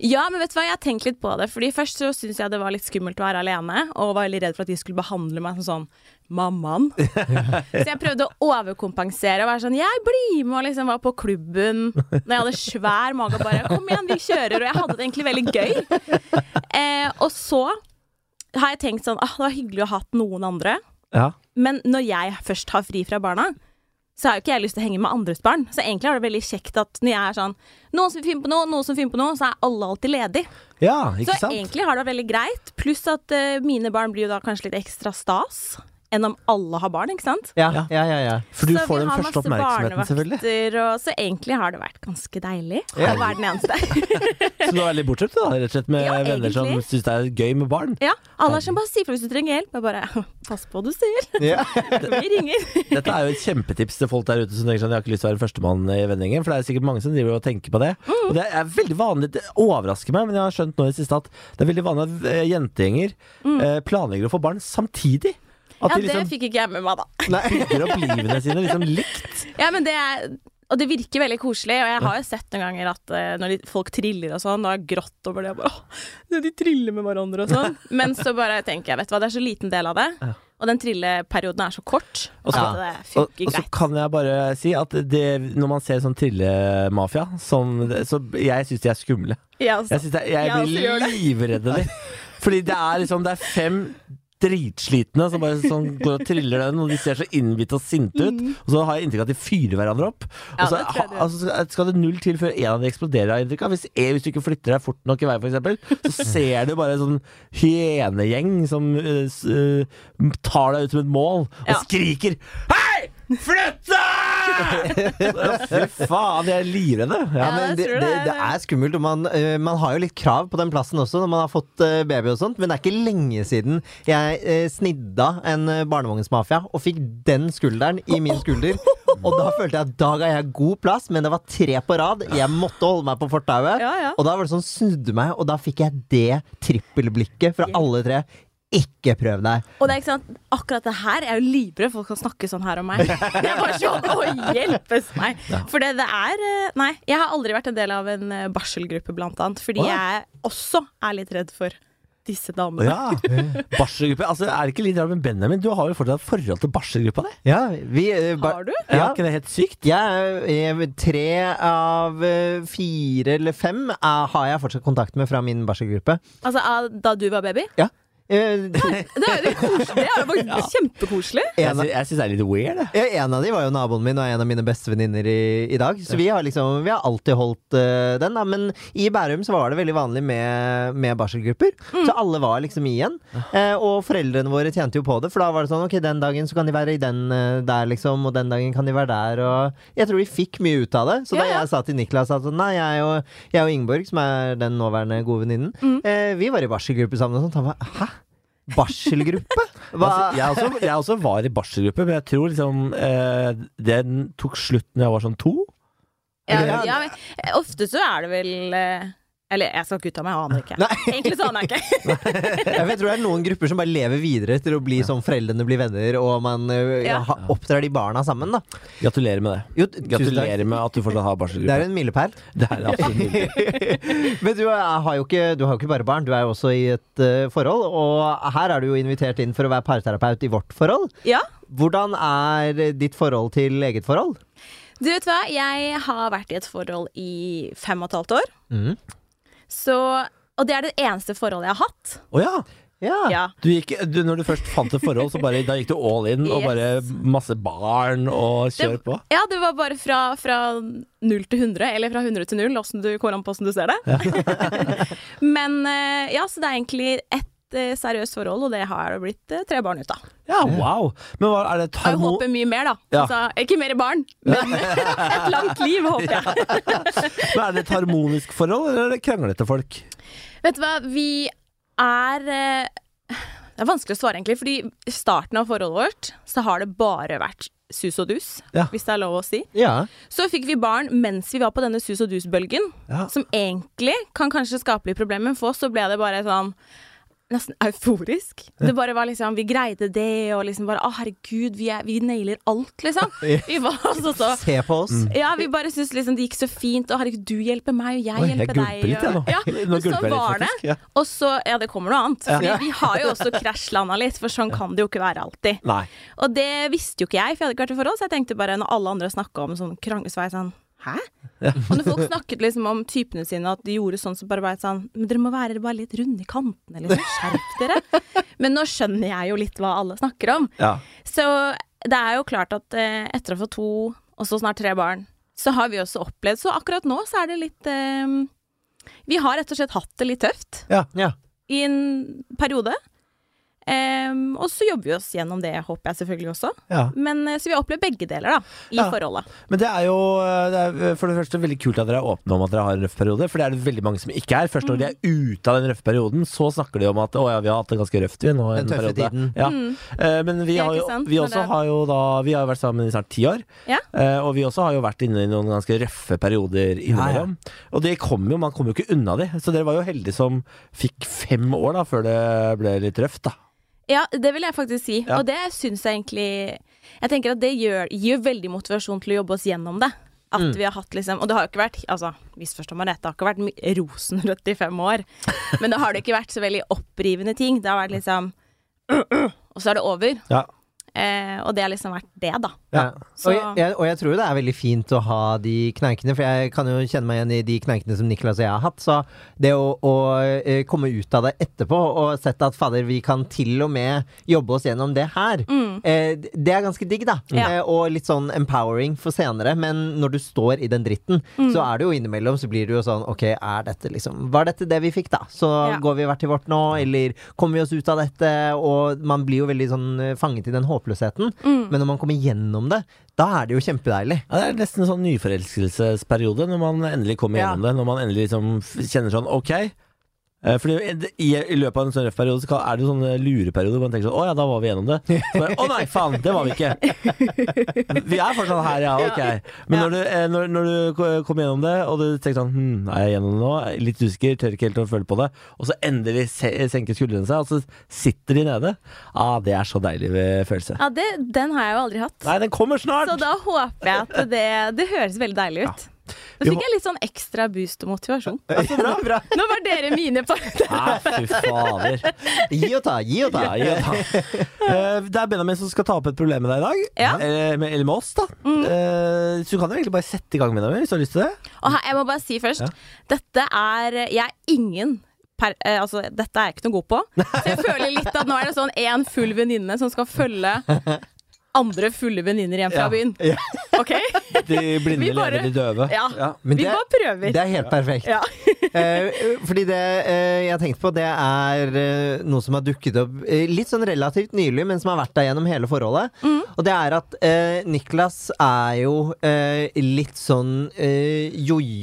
[SPEAKER 3] Ja, men vet du hva, jeg har tenkt litt på det. Fordi først så syntes jeg det var litt skummelt å være alene, og var veldig redd for at de skulle behandle meg som sånn mammaen. Så jeg prøvde å overkompensere og være sånn jeg blir med og liksom var på klubben når jeg hadde svær mage og bare kom igjen, vi kjører. Og jeg hadde det egentlig veldig gøy. Eh, og så har jeg tenkt sånn ah, det var hyggelig å ha hatt noen andre.
[SPEAKER 1] Ja.
[SPEAKER 3] Men når jeg først har fri fra barna, så har jo ikke jeg lyst til å henge med andres barn. Så egentlig er det veldig kjekt at når jeg er sånn Noen som finner på noe, noen som finner på noe, så er alle alltid ledig.
[SPEAKER 1] Ja,
[SPEAKER 3] Så
[SPEAKER 1] ikke sant?
[SPEAKER 3] egentlig har det vært veldig greit. Pluss at eh, mine barn blir jo da kanskje litt ekstra stas enn om alle har barn, ikke sant?
[SPEAKER 2] Ja,
[SPEAKER 1] Ja.
[SPEAKER 2] ja, ja, ja.
[SPEAKER 1] For du
[SPEAKER 3] så
[SPEAKER 1] får
[SPEAKER 3] vi
[SPEAKER 1] den
[SPEAKER 3] har
[SPEAKER 1] første
[SPEAKER 3] masse
[SPEAKER 1] oppmerksomheten, selvfølgelig.
[SPEAKER 3] barnevakter, og så egentlig har det vært ganske deilig
[SPEAKER 2] Ja.
[SPEAKER 3] å være den eneste. [laughs]
[SPEAKER 1] Så du er litt bortskjemt, da, rett og slett, med
[SPEAKER 3] Ja,
[SPEAKER 1] venner som
[SPEAKER 3] egentlig.
[SPEAKER 1] syns det er gøy med barn.
[SPEAKER 3] Ja, Alle er som bare sier fra hvis du trenger hjelp. Jeg bare [laughs] pass på hva du sier,
[SPEAKER 2] ja.
[SPEAKER 3] [laughs] vi ringer.
[SPEAKER 1] Dette er jo et kjempetips til folk der ute som tenker sånn, jeg har ikke lyst til å være førstemann i vennegjengen. For det er sikkert mange som driver og tenker på det. Og det er veldig vanlig, det overrasker meg, men jeg har skjønt nå i det siste at det er veldig vanlig at eh, jentegjenger eh, planlegger å få barn samtidig. At
[SPEAKER 3] Mm. Ja,
[SPEAKER 1] de
[SPEAKER 3] det
[SPEAKER 1] liksom
[SPEAKER 3] fikk ikke jeg med meg, da.
[SPEAKER 2] Nei.
[SPEAKER 1] bygger opp livene sine liksom likt.
[SPEAKER 3] Ja, men det er og det virker veldig koselig, og jeg har jo sett noen ganger at eh, når de, folk triller og sånn, og har jeg grått over det og bare, Åh, de triller med hverandre og
[SPEAKER 1] [laughs]
[SPEAKER 3] sånn. Men så bare tenker jeg, vet du hva, det er så liten del av det, og den trilleperioden er så kort.
[SPEAKER 1] Og så-
[SPEAKER 3] at det
[SPEAKER 1] Og,
[SPEAKER 3] funker
[SPEAKER 1] og så
[SPEAKER 3] greit.
[SPEAKER 1] kan jeg bare si at det, når man ser sånn trillemafia, sånn, så jeg syns de er skumle.
[SPEAKER 3] Ja, altså.
[SPEAKER 1] Jeg, synes det, jeg,
[SPEAKER 3] Jeg også gjør
[SPEAKER 1] blir livredd av dem. Fordi det er liksom Det er fem dritslitne som bare sånn går og triller den, og de ser så innbitte og sinte ut. Og så har jeg inntrykk av at de fyrer hverandre opp. Og
[SPEAKER 3] Mm.
[SPEAKER 1] så
[SPEAKER 3] Ja, det tror jeg de gjør.
[SPEAKER 1] altså, skal- skal det null til før en av de eksploderer, har jeg inntrykk av. Hvis, eh, hvis du ikke flytter deg fort nok i vei, f.eks., så ser du bare en sånn hyenegjeng som eh, s- eh, tar deg ut som et mål og
[SPEAKER 3] Ja.
[SPEAKER 1] skriker Hei! Flytt
[SPEAKER 3] [laughs]
[SPEAKER 1] deg! Fy faen, de er livredd. Ja.
[SPEAKER 2] Ja,
[SPEAKER 3] Ja,
[SPEAKER 2] men
[SPEAKER 3] jeg
[SPEAKER 2] det, det,
[SPEAKER 3] tror det
[SPEAKER 2] det
[SPEAKER 3] er det.
[SPEAKER 2] er skummelt, og man, eh, man har jo litt krav på den plassen også når man har fått eh, baby og sånt, men det er ikke lenge siden jeg eh, snidda en eh, barnevognsmafia og fikk den skulderen i min
[SPEAKER 3] [laughs]
[SPEAKER 2] skulder. Og da følte jeg at da ga jeg god plass, men det var tre på rad. Jeg måtte holde meg på fortauet.
[SPEAKER 3] Ja, ja.
[SPEAKER 2] Og da var det sånn snudde meg, og da fikk jeg det trippelblikket fra alle tre. Ikke prøv deg.
[SPEAKER 3] Og det er ikke sant, akkurat det her er jo livredd folk kan snakke sånn her om meg. Jeg er bare
[SPEAKER 1] [laughs]
[SPEAKER 3] sånn, å hjelpes meg! For det, det er eh, Nei, jeg har aldri vært en del av en eh, barselgruppe, blant annet. Fordi
[SPEAKER 1] Å, ja.
[SPEAKER 3] jeg også er litt redd for disse
[SPEAKER 1] [laughs]
[SPEAKER 3] damene.
[SPEAKER 1] Ja. Barselgruppe. Altså, er det ikke litt rart med Benjamin? Du har jo fortsatt et forhold til barselgruppa di?
[SPEAKER 2] Ja, vi, eh, ba-
[SPEAKER 3] Har du?
[SPEAKER 1] Ja.
[SPEAKER 2] Ja.
[SPEAKER 1] Er ikke det helt sykt?
[SPEAKER 2] Jeg, jeg, tre av eh, fire eller fem eh, har jeg fortsatt kontakt med fra min barselgruppe.
[SPEAKER 3] Altså, av- Da du var baby?
[SPEAKER 2] Ja. Eh, to-
[SPEAKER 3] Det er jo litt koselig. Det er jo [laughs] faktisk kjempekoselig.
[SPEAKER 1] Jeg,
[SPEAKER 2] en,
[SPEAKER 1] sy jeg syns det er litt weird, jeg.
[SPEAKER 2] ja, en av de var jo naboen min og en av mine bestevenninner i, i dag. Så vi har liksom Vi har alltid holdt eh, den, da. Men i Bærum så var det veldig vanlig med, med barselgrupper.
[SPEAKER 3] Mm.
[SPEAKER 2] Så alle var liksom igjen. Eh, og foreldrene våre tjente jo på det, for da var det sånn Ok, den dagen så kan de være i den eh, der, liksom, og den dagen kan de være der, og Jeg tror de fikk mye ut av det. Så da
[SPEAKER 3] Ja, ja.
[SPEAKER 2] jeg sa til Niklas at sånn, nei, jeg og, jeg og Ingeborg, som er den nåværende gode venninnen,
[SPEAKER 3] Mm.
[SPEAKER 2] eh, vi var i barselgruppe sammen og sånt. Han var Hæ?
[SPEAKER 3] [laughs]
[SPEAKER 2] Barselgruppe? Hva?
[SPEAKER 1] Altså, jeg, også, jeg også var i barselgruppe, men jeg tror liksom eh, den tok slutt når jeg var sånn to.
[SPEAKER 3] Ja,
[SPEAKER 2] Ja.
[SPEAKER 3] ja, men, eh, ofte så er det vel eh, Eller jeg skal ikke ut av meg, jeg aner ikke. [laughs] Egentlig så aner jeg ikke.
[SPEAKER 2] Ja, for jeg tror det er noen grupper som bare lever videre etter å bli som foreldrene blir venner, og man ø, ja.
[SPEAKER 3] Ja.
[SPEAKER 2] ha- oppdrar de barna sammen, da.
[SPEAKER 1] Gratulerer med det.
[SPEAKER 2] Jo, t- tusen takk.
[SPEAKER 1] Gratulerer med at du fortsatt har
[SPEAKER 2] Det
[SPEAKER 1] barselgruppe.
[SPEAKER 2] er en milepæl.
[SPEAKER 1] Det er absolutt [laughs] mulig.
[SPEAKER 2] Men du ø, har jo ikke, du har jo ikke bare barn, du er jo også i et ø, forhold. Og her er du jo invitert inn for å være parterapeut i vårt forhold.
[SPEAKER 3] Ja,
[SPEAKER 2] Hvordan er ditt forhold til eget forhold?
[SPEAKER 3] Du vet hva, jeg har vært i et forhold i fem og et halvt år.
[SPEAKER 2] Mhm.
[SPEAKER 3] Så, og det er det eneste forholdet jeg har hatt.
[SPEAKER 1] Å ja!
[SPEAKER 2] Ja.
[SPEAKER 3] Ja.
[SPEAKER 1] Du gikk, du, når du først fant et forhold, så bare, da gikk du all in og bare masse barn og kjør på?
[SPEAKER 3] ja, det var bare fra, fra null til 100, eller fra 100 til null, åssen du kommer an på åssen du ser det. [laughs] Men eh, ja, så det er egentlig ett eh, seriøst forhold, og det har det blitt eh, tre barn ut av.
[SPEAKER 1] Ja, wow! Men hva, er det et
[SPEAKER 3] Jeg
[SPEAKER 1] harmo...
[SPEAKER 3] håper mye mer, da.
[SPEAKER 1] Ja.
[SPEAKER 3] Altså, ikke mer barn,
[SPEAKER 1] [laughs]
[SPEAKER 3] men et langt liv, håper jeg.
[SPEAKER 1] Men er det et harmonisk forhold, eller er det kranglete folk?
[SPEAKER 3] Vet du hva, vi er eh, Det er vanskelig å svare, egentlig. Fordi i starten av forholdet vårt så har det bare vært sus og dus,
[SPEAKER 1] Ja.
[SPEAKER 3] hvis det er lov å si.
[SPEAKER 2] ja.
[SPEAKER 3] Så fikk vi barn mens vi var på denne sus og dus-bølgen,
[SPEAKER 1] Ja.
[SPEAKER 3] som egentlig kan kanskje skape litt problemer, men for oss så ble det bare sånn Nesten euforisk. Det bare var liksom Vi greide det, og liksom bare Å, herregud, vi, er, vi nailer alt,
[SPEAKER 1] [laughs]
[SPEAKER 3] liksom. Vi var altså så
[SPEAKER 2] Se på oss.
[SPEAKER 3] ja, vi bare syntes liksom det gikk så fint, og herregud, du hjelper meg, og jeg
[SPEAKER 1] Oi, jeg
[SPEAKER 3] hjelper
[SPEAKER 1] gulper
[SPEAKER 3] deg.
[SPEAKER 1] litt, jeg nå.
[SPEAKER 3] og, ja,
[SPEAKER 1] [laughs] Nå
[SPEAKER 3] men
[SPEAKER 1] gulper jeg
[SPEAKER 3] sånn
[SPEAKER 1] litt,
[SPEAKER 3] var det.
[SPEAKER 1] faktisk, ja.
[SPEAKER 3] Og så Ja, det kommer noe annet. Fordi
[SPEAKER 1] Ja.
[SPEAKER 3] vi har jo også krasjlanda litt, for sånn kan det jo ikke være alltid.
[SPEAKER 1] Nei.
[SPEAKER 3] Og det visste jo ikke jeg, for jeg hadde ikke vært i forhold, så jeg tenkte bare når alle andre snakka om sånn kranglesvei, sånn Hæ? Og når folk snakket liksom om typene sine, at de gjorde sånn, så bare var jeg sånn Men dere må være bare litt runde i kantene, liksom. Skjerp dere. Men nå skjønner jeg jo litt hva alle snakker om.
[SPEAKER 1] Ja.
[SPEAKER 3] Så det er jo klart at eh, etter å få to, og så snart tre barn, så har vi også opplevd Så akkurat nå så er det litt eh, Vi har rett og slett hatt det litt tøft
[SPEAKER 2] Ja.
[SPEAKER 3] i en periode. Ehm, og så jobber vi oss gjennom det, håper jeg selvfølgelig også.
[SPEAKER 1] Ja.
[SPEAKER 3] Men, eh, så vi har opplevd begge deler, da, i
[SPEAKER 1] Ja.
[SPEAKER 3] forholdet.
[SPEAKER 1] Men det er jo eh, det er for det første veldig kult at dere er åpne om at dere har en røff periode, for det er det veldig mange som ikke er. Først når de er
[SPEAKER 3] Mm.
[SPEAKER 1] ute av den røffe perioden, så snakker de om at å ja, vi har hatt det ganske røft vi nå. en
[SPEAKER 2] Den tøffe
[SPEAKER 1] periode.
[SPEAKER 2] tiden.
[SPEAKER 1] Ja. Eh, Men vi,
[SPEAKER 3] Ja,
[SPEAKER 1] har jo,
[SPEAKER 3] Mm. ikke sant?
[SPEAKER 1] vi
[SPEAKER 3] Når
[SPEAKER 1] også
[SPEAKER 3] det-
[SPEAKER 1] har jo da Vi har jo vært sammen i snart ti år,
[SPEAKER 3] Ja.
[SPEAKER 1] eh, og vi også har jo vært inne i noen ganske røffe perioder innimellom. Og det kommer jo, man kommer jo ikke unna de. Så dere var jo heldige som fikk fem år da, før det ble litt røft, da.
[SPEAKER 3] Ja, det vil jeg faktisk si.
[SPEAKER 1] Ja.
[SPEAKER 3] Og det syns jeg egentlig Jeg tenker at det gjør, gir veldig motivasjon til å jobbe oss gjennom det. At
[SPEAKER 1] Mm.
[SPEAKER 3] vi har hatt liksom Og det har jo ikke vært Altså, misforstå meg rett, det har ikke vært my- rosenrødt i
[SPEAKER 1] [laughs]
[SPEAKER 3] fem år. Men det har det ikke vært så veldig opprivende ting. Det har vært liksom Og så er det over.
[SPEAKER 1] Ja.
[SPEAKER 3] Eh, og det har liksom vært det, da.
[SPEAKER 2] Ja.
[SPEAKER 3] Så-
[SPEAKER 2] Og, jeg, jeg, og jeg tror jo det er veldig fint å ha de kneikene, for jeg kan jo kjenne meg igjen i de kneikene som Niklas og jeg har hatt. Så det å, å eh, komme ut av det etterpå og sett at fader, vi kan til og med jobbe oss gjennom det her, eh, d- det er ganske digg, da.
[SPEAKER 3] Ja.
[SPEAKER 2] Eh, og litt sånn empowering for senere. Men når du står i den dritten,
[SPEAKER 3] Mm.
[SPEAKER 2] så er det jo innimellom så blir det jo sånn OK, er dette liksom Var dette det vi fikk, da? Så
[SPEAKER 3] Ja.
[SPEAKER 2] går vi hvert til vårt nå, eller kommer vi oss ut av dette? Og man blir jo veldig sånn eh, fanget i den håpløsheten.
[SPEAKER 3] Mm.
[SPEAKER 2] Men når man kommer gjennom det, da er det jo kjempedeilig.
[SPEAKER 1] Ja, det er nesten en sånn nyforelskelsesperiode når man endelig kommer
[SPEAKER 2] Ja.
[SPEAKER 1] gjennom det. Når man endelig liksom f- kjenner sånn OK. Eh, Fordi i, I løpet av en sånn røff periode Så kan- er det jo sånne lureperioder hvor man tenker sånn Å ja, da var vi gjennom det. Så bare, Å nei, faen, det var vi ikke. Vi er fortsatt her, ja. Ok. Men når du, eh, når, når du ko- kommer gjennom det, og du tenker sånn hm, Er jeg gjennom det nå? Litt usikker, tør ikke helt å føle på det. Og så endelig se, senker skuldrene seg, og så sitter de nede. Ah, det er så deilig eh, følelse.
[SPEAKER 3] Ja, det, den har jeg jo aldri hatt.
[SPEAKER 1] Nei, den kommer snart!
[SPEAKER 3] Ah.
[SPEAKER 1] [laughs]
[SPEAKER 3] Så da håper jeg at det Det høres veldig deilig ut.
[SPEAKER 1] Vi
[SPEAKER 3] Da
[SPEAKER 1] må- Eh,
[SPEAKER 3] fikk jeg litt sånn ekstra boost og motivasjon.
[SPEAKER 2] Ja, bra.
[SPEAKER 3] Nå var dere mine på
[SPEAKER 1] Nei, fy fader.
[SPEAKER 2] Gi og ta, gi og ta.
[SPEAKER 1] Ja, ja, da. Eh, det er Benjamin som skal ta opp et problem med deg i dag.
[SPEAKER 3] Ja.
[SPEAKER 1] Eller, med, eller med oss, da. Eh, så du kan jo egentlig bare sette i gang, Benjamin, hvis du har lyst til det.
[SPEAKER 3] Og her, jeg må bare si først,
[SPEAKER 1] Ja.
[SPEAKER 3] dette er Jeg er ingen per, eh, altså, dette er jeg ikke
[SPEAKER 2] [laughs]
[SPEAKER 3] noe god på. Så jeg føler litt at nå er det sånn én full venninne som skal følge andre fulle venninner hjem fra
[SPEAKER 1] Ja.
[SPEAKER 3] byen.
[SPEAKER 2] Ja.
[SPEAKER 3] OK?
[SPEAKER 1] De blinde
[SPEAKER 3] Vi bare-
[SPEAKER 1] leder de døve.
[SPEAKER 3] Ja.
[SPEAKER 2] Men
[SPEAKER 3] Vi
[SPEAKER 2] det-
[SPEAKER 3] bare prøver.
[SPEAKER 2] Det er helt perfekt.
[SPEAKER 3] Ja.
[SPEAKER 2] Eh, fordi det eh, jeg har tenkt på, det er eh, noe som har dukket opp eh, litt sånn relativt nylig, men som har vært der gjennom hele forholdet. Og det er at eh, Niklas er jo eh, litt sånn eh,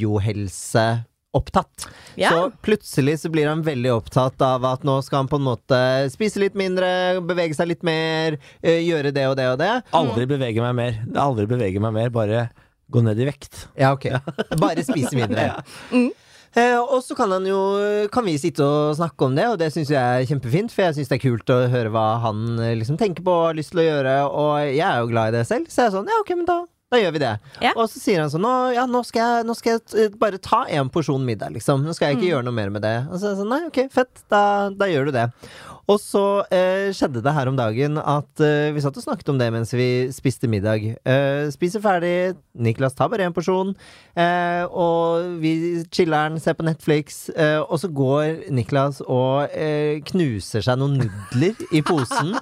[SPEAKER 2] jojo-helse. Opptatt.
[SPEAKER 3] Ja.
[SPEAKER 2] Så plutselig så blir han veldig opptatt av at nå skal han på en måte spise litt mindre, bevege seg litt mer, eh, gjøre det og det og det.
[SPEAKER 1] Aldri bevege meg mer. Aldri bevege meg mer, bare gå ned i vekt.
[SPEAKER 2] Ja, ok. Bare spise mindre. [laughs] Eh, og så kan, han jo, kan vi sitte og snakke om det, og det syns jeg er kjempefint. For jeg syns det er kult å høre hva han eh, liksom, tenker på og har lyst til å gjøre. Og jeg er jo glad i det selv, så jeg er sånn ja, ok, men da, da gjør vi det.
[SPEAKER 3] Ja.
[SPEAKER 2] Og så sier han sånn nå, ja, nå skal jeg, nå skal jeg eh, bare ta én porsjon middag, liksom. Nå skal jeg ikke gjøre noe mer med det. Og så er jeg sånn nei, ok, fett, da, da gjør du det. Og så eh, skjedde det her om dagen at eh, vi satt og snakket om det mens vi spiste middag. Eh, spiser ferdig, Niklas tar bare én porsjon, eh, og vi chiller'n, ser på Netflix, eh, og så går Niklas og eh, knuser seg noen nudler i posen.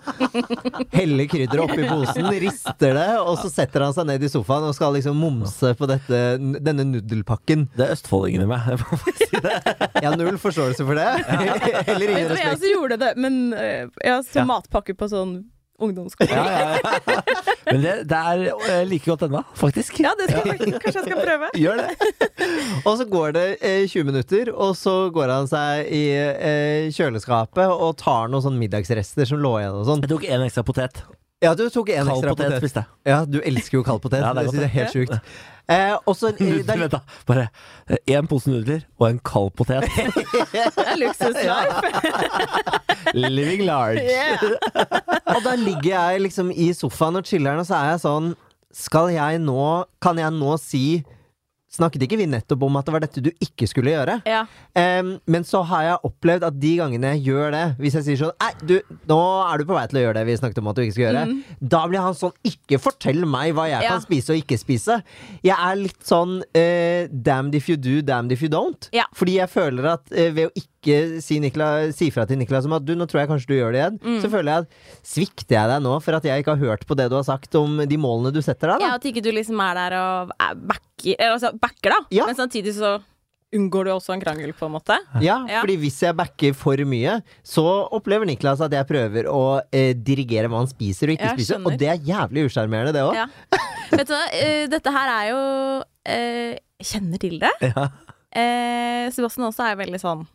[SPEAKER 2] Heller krydderet oppi posen, rister det, og så setter han seg ned i sofaen og skal liksom momse på dette, denne nudelpakken.
[SPEAKER 1] Det er østfoldingen i meg. [laughs] Jeg må bare si det.
[SPEAKER 2] Jeg har null forståelse for det. [laughs] Eller ingen
[SPEAKER 3] Vet du hva, jeg
[SPEAKER 2] respekt.
[SPEAKER 3] også gjorde det, men eh, jeg har så matpakke på sånn ungdomsskole.
[SPEAKER 1] Ja,
[SPEAKER 3] Ja.
[SPEAKER 1] ja, ja. Men det, det er eh, like godt ennå, faktisk.
[SPEAKER 3] det skal jeg faktisk, kanskje jeg skal prøve.
[SPEAKER 1] Gjør det.
[SPEAKER 2] [laughs] Og så går det eh, 20 minutter, og så går han seg i eh, kjøleskapet og tar noen sånn middagsrester som lå igjen og sånn.
[SPEAKER 1] Jeg tok én ekstra potet.
[SPEAKER 2] Ja, du tok en
[SPEAKER 1] Kald
[SPEAKER 2] ekstra
[SPEAKER 1] potet
[SPEAKER 2] potet.
[SPEAKER 1] spiste jeg.
[SPEAKER 2] Ja, du elsker jo kald potet.
[SPEAKER 1] [laughs] Ja, det
[SPEAKER 2] det,
[SPEAKER 1] er godt,
[SPEAKER 2] synes jeg er helt sjukt. Eh, og
[SPEAKER 1] [laughs]
[SPEAKER 2] så eh,
[SPEAKER 1] Nudler,
[SPEAKER 2] der-
[SPEAKER 1] vent da. Bare én pose nudler og en kald potet.
[SPEAKER 2] [laughs]
[SPEAKER 3] Det er luksuslife.
[SPEAKER 1] Living large.
[SPEAKER 3] Yeah.
[SPEAKER 2] Og da ligger jeg liksom i sofaen og chiller'n, og så er jeg sånn Skal jeg nå Kan jeg nå si Snakket ikke vi nettopp om at det var dette du ikke skulle gjøre?
[SPEAKER 3] Ja.
[SPEAKER 2] Em, men så har jeg opplevd at de gangene jeg gjør det, hvis jeg sier sånn Nei, du, nå er du på vei til å gjøre det vi snakket om at du ikke skal gjøre. Da blir han sånn Ikke fortell meg hva jeg
[SPEAKER 3] Mhm. Ja.
[SPEAKER 2] kan spise og ikke spise. Jeg er litt sånn eh, damned if you do, damned if you don't.
[SPEAKER 3] Ja.
[SPEAKER 2] Fordi jeg føler at eh, ved å ikke si, Nikla- si fra til Niklas om at du, nå tror jeg kanskje du gjør det igjen,
[SPEAKER 3] Mm.
[SPEAKER 2] så føler jeg at svikter jeg deg nå for at jeg ikke har hørt på det du har sagt om de målene du setter deg, da?
[SPEAKER 3] Ja, at ikke du liksom er der og er backer, eh, altså backer da.
[SPEAKER 2] Ja.
[SPEAKER 3] Men samtidig så unngår du også en krangel, på en måte.
[SPEAKER 2] Ja,
[SPEAKER 3] Ja.
[SPEAKER 2] fordi hvis jeg backer for mye, så opplever Niklas at jeg prøver å eh, dirigere hva han spiser og ikke
[SPEAKER 3] Jeg
[SPEAKER 2] spiser,
[SPEAKER 3] skjønner.
[SPEAKER 2] og det er jævlig usjarmerende, det òg.
[SPEAKER 3] Ja. Vet du hva, eh, dette her er jo eh, Jeg kjenner til det. Eh, Sebastian også er veldig sånn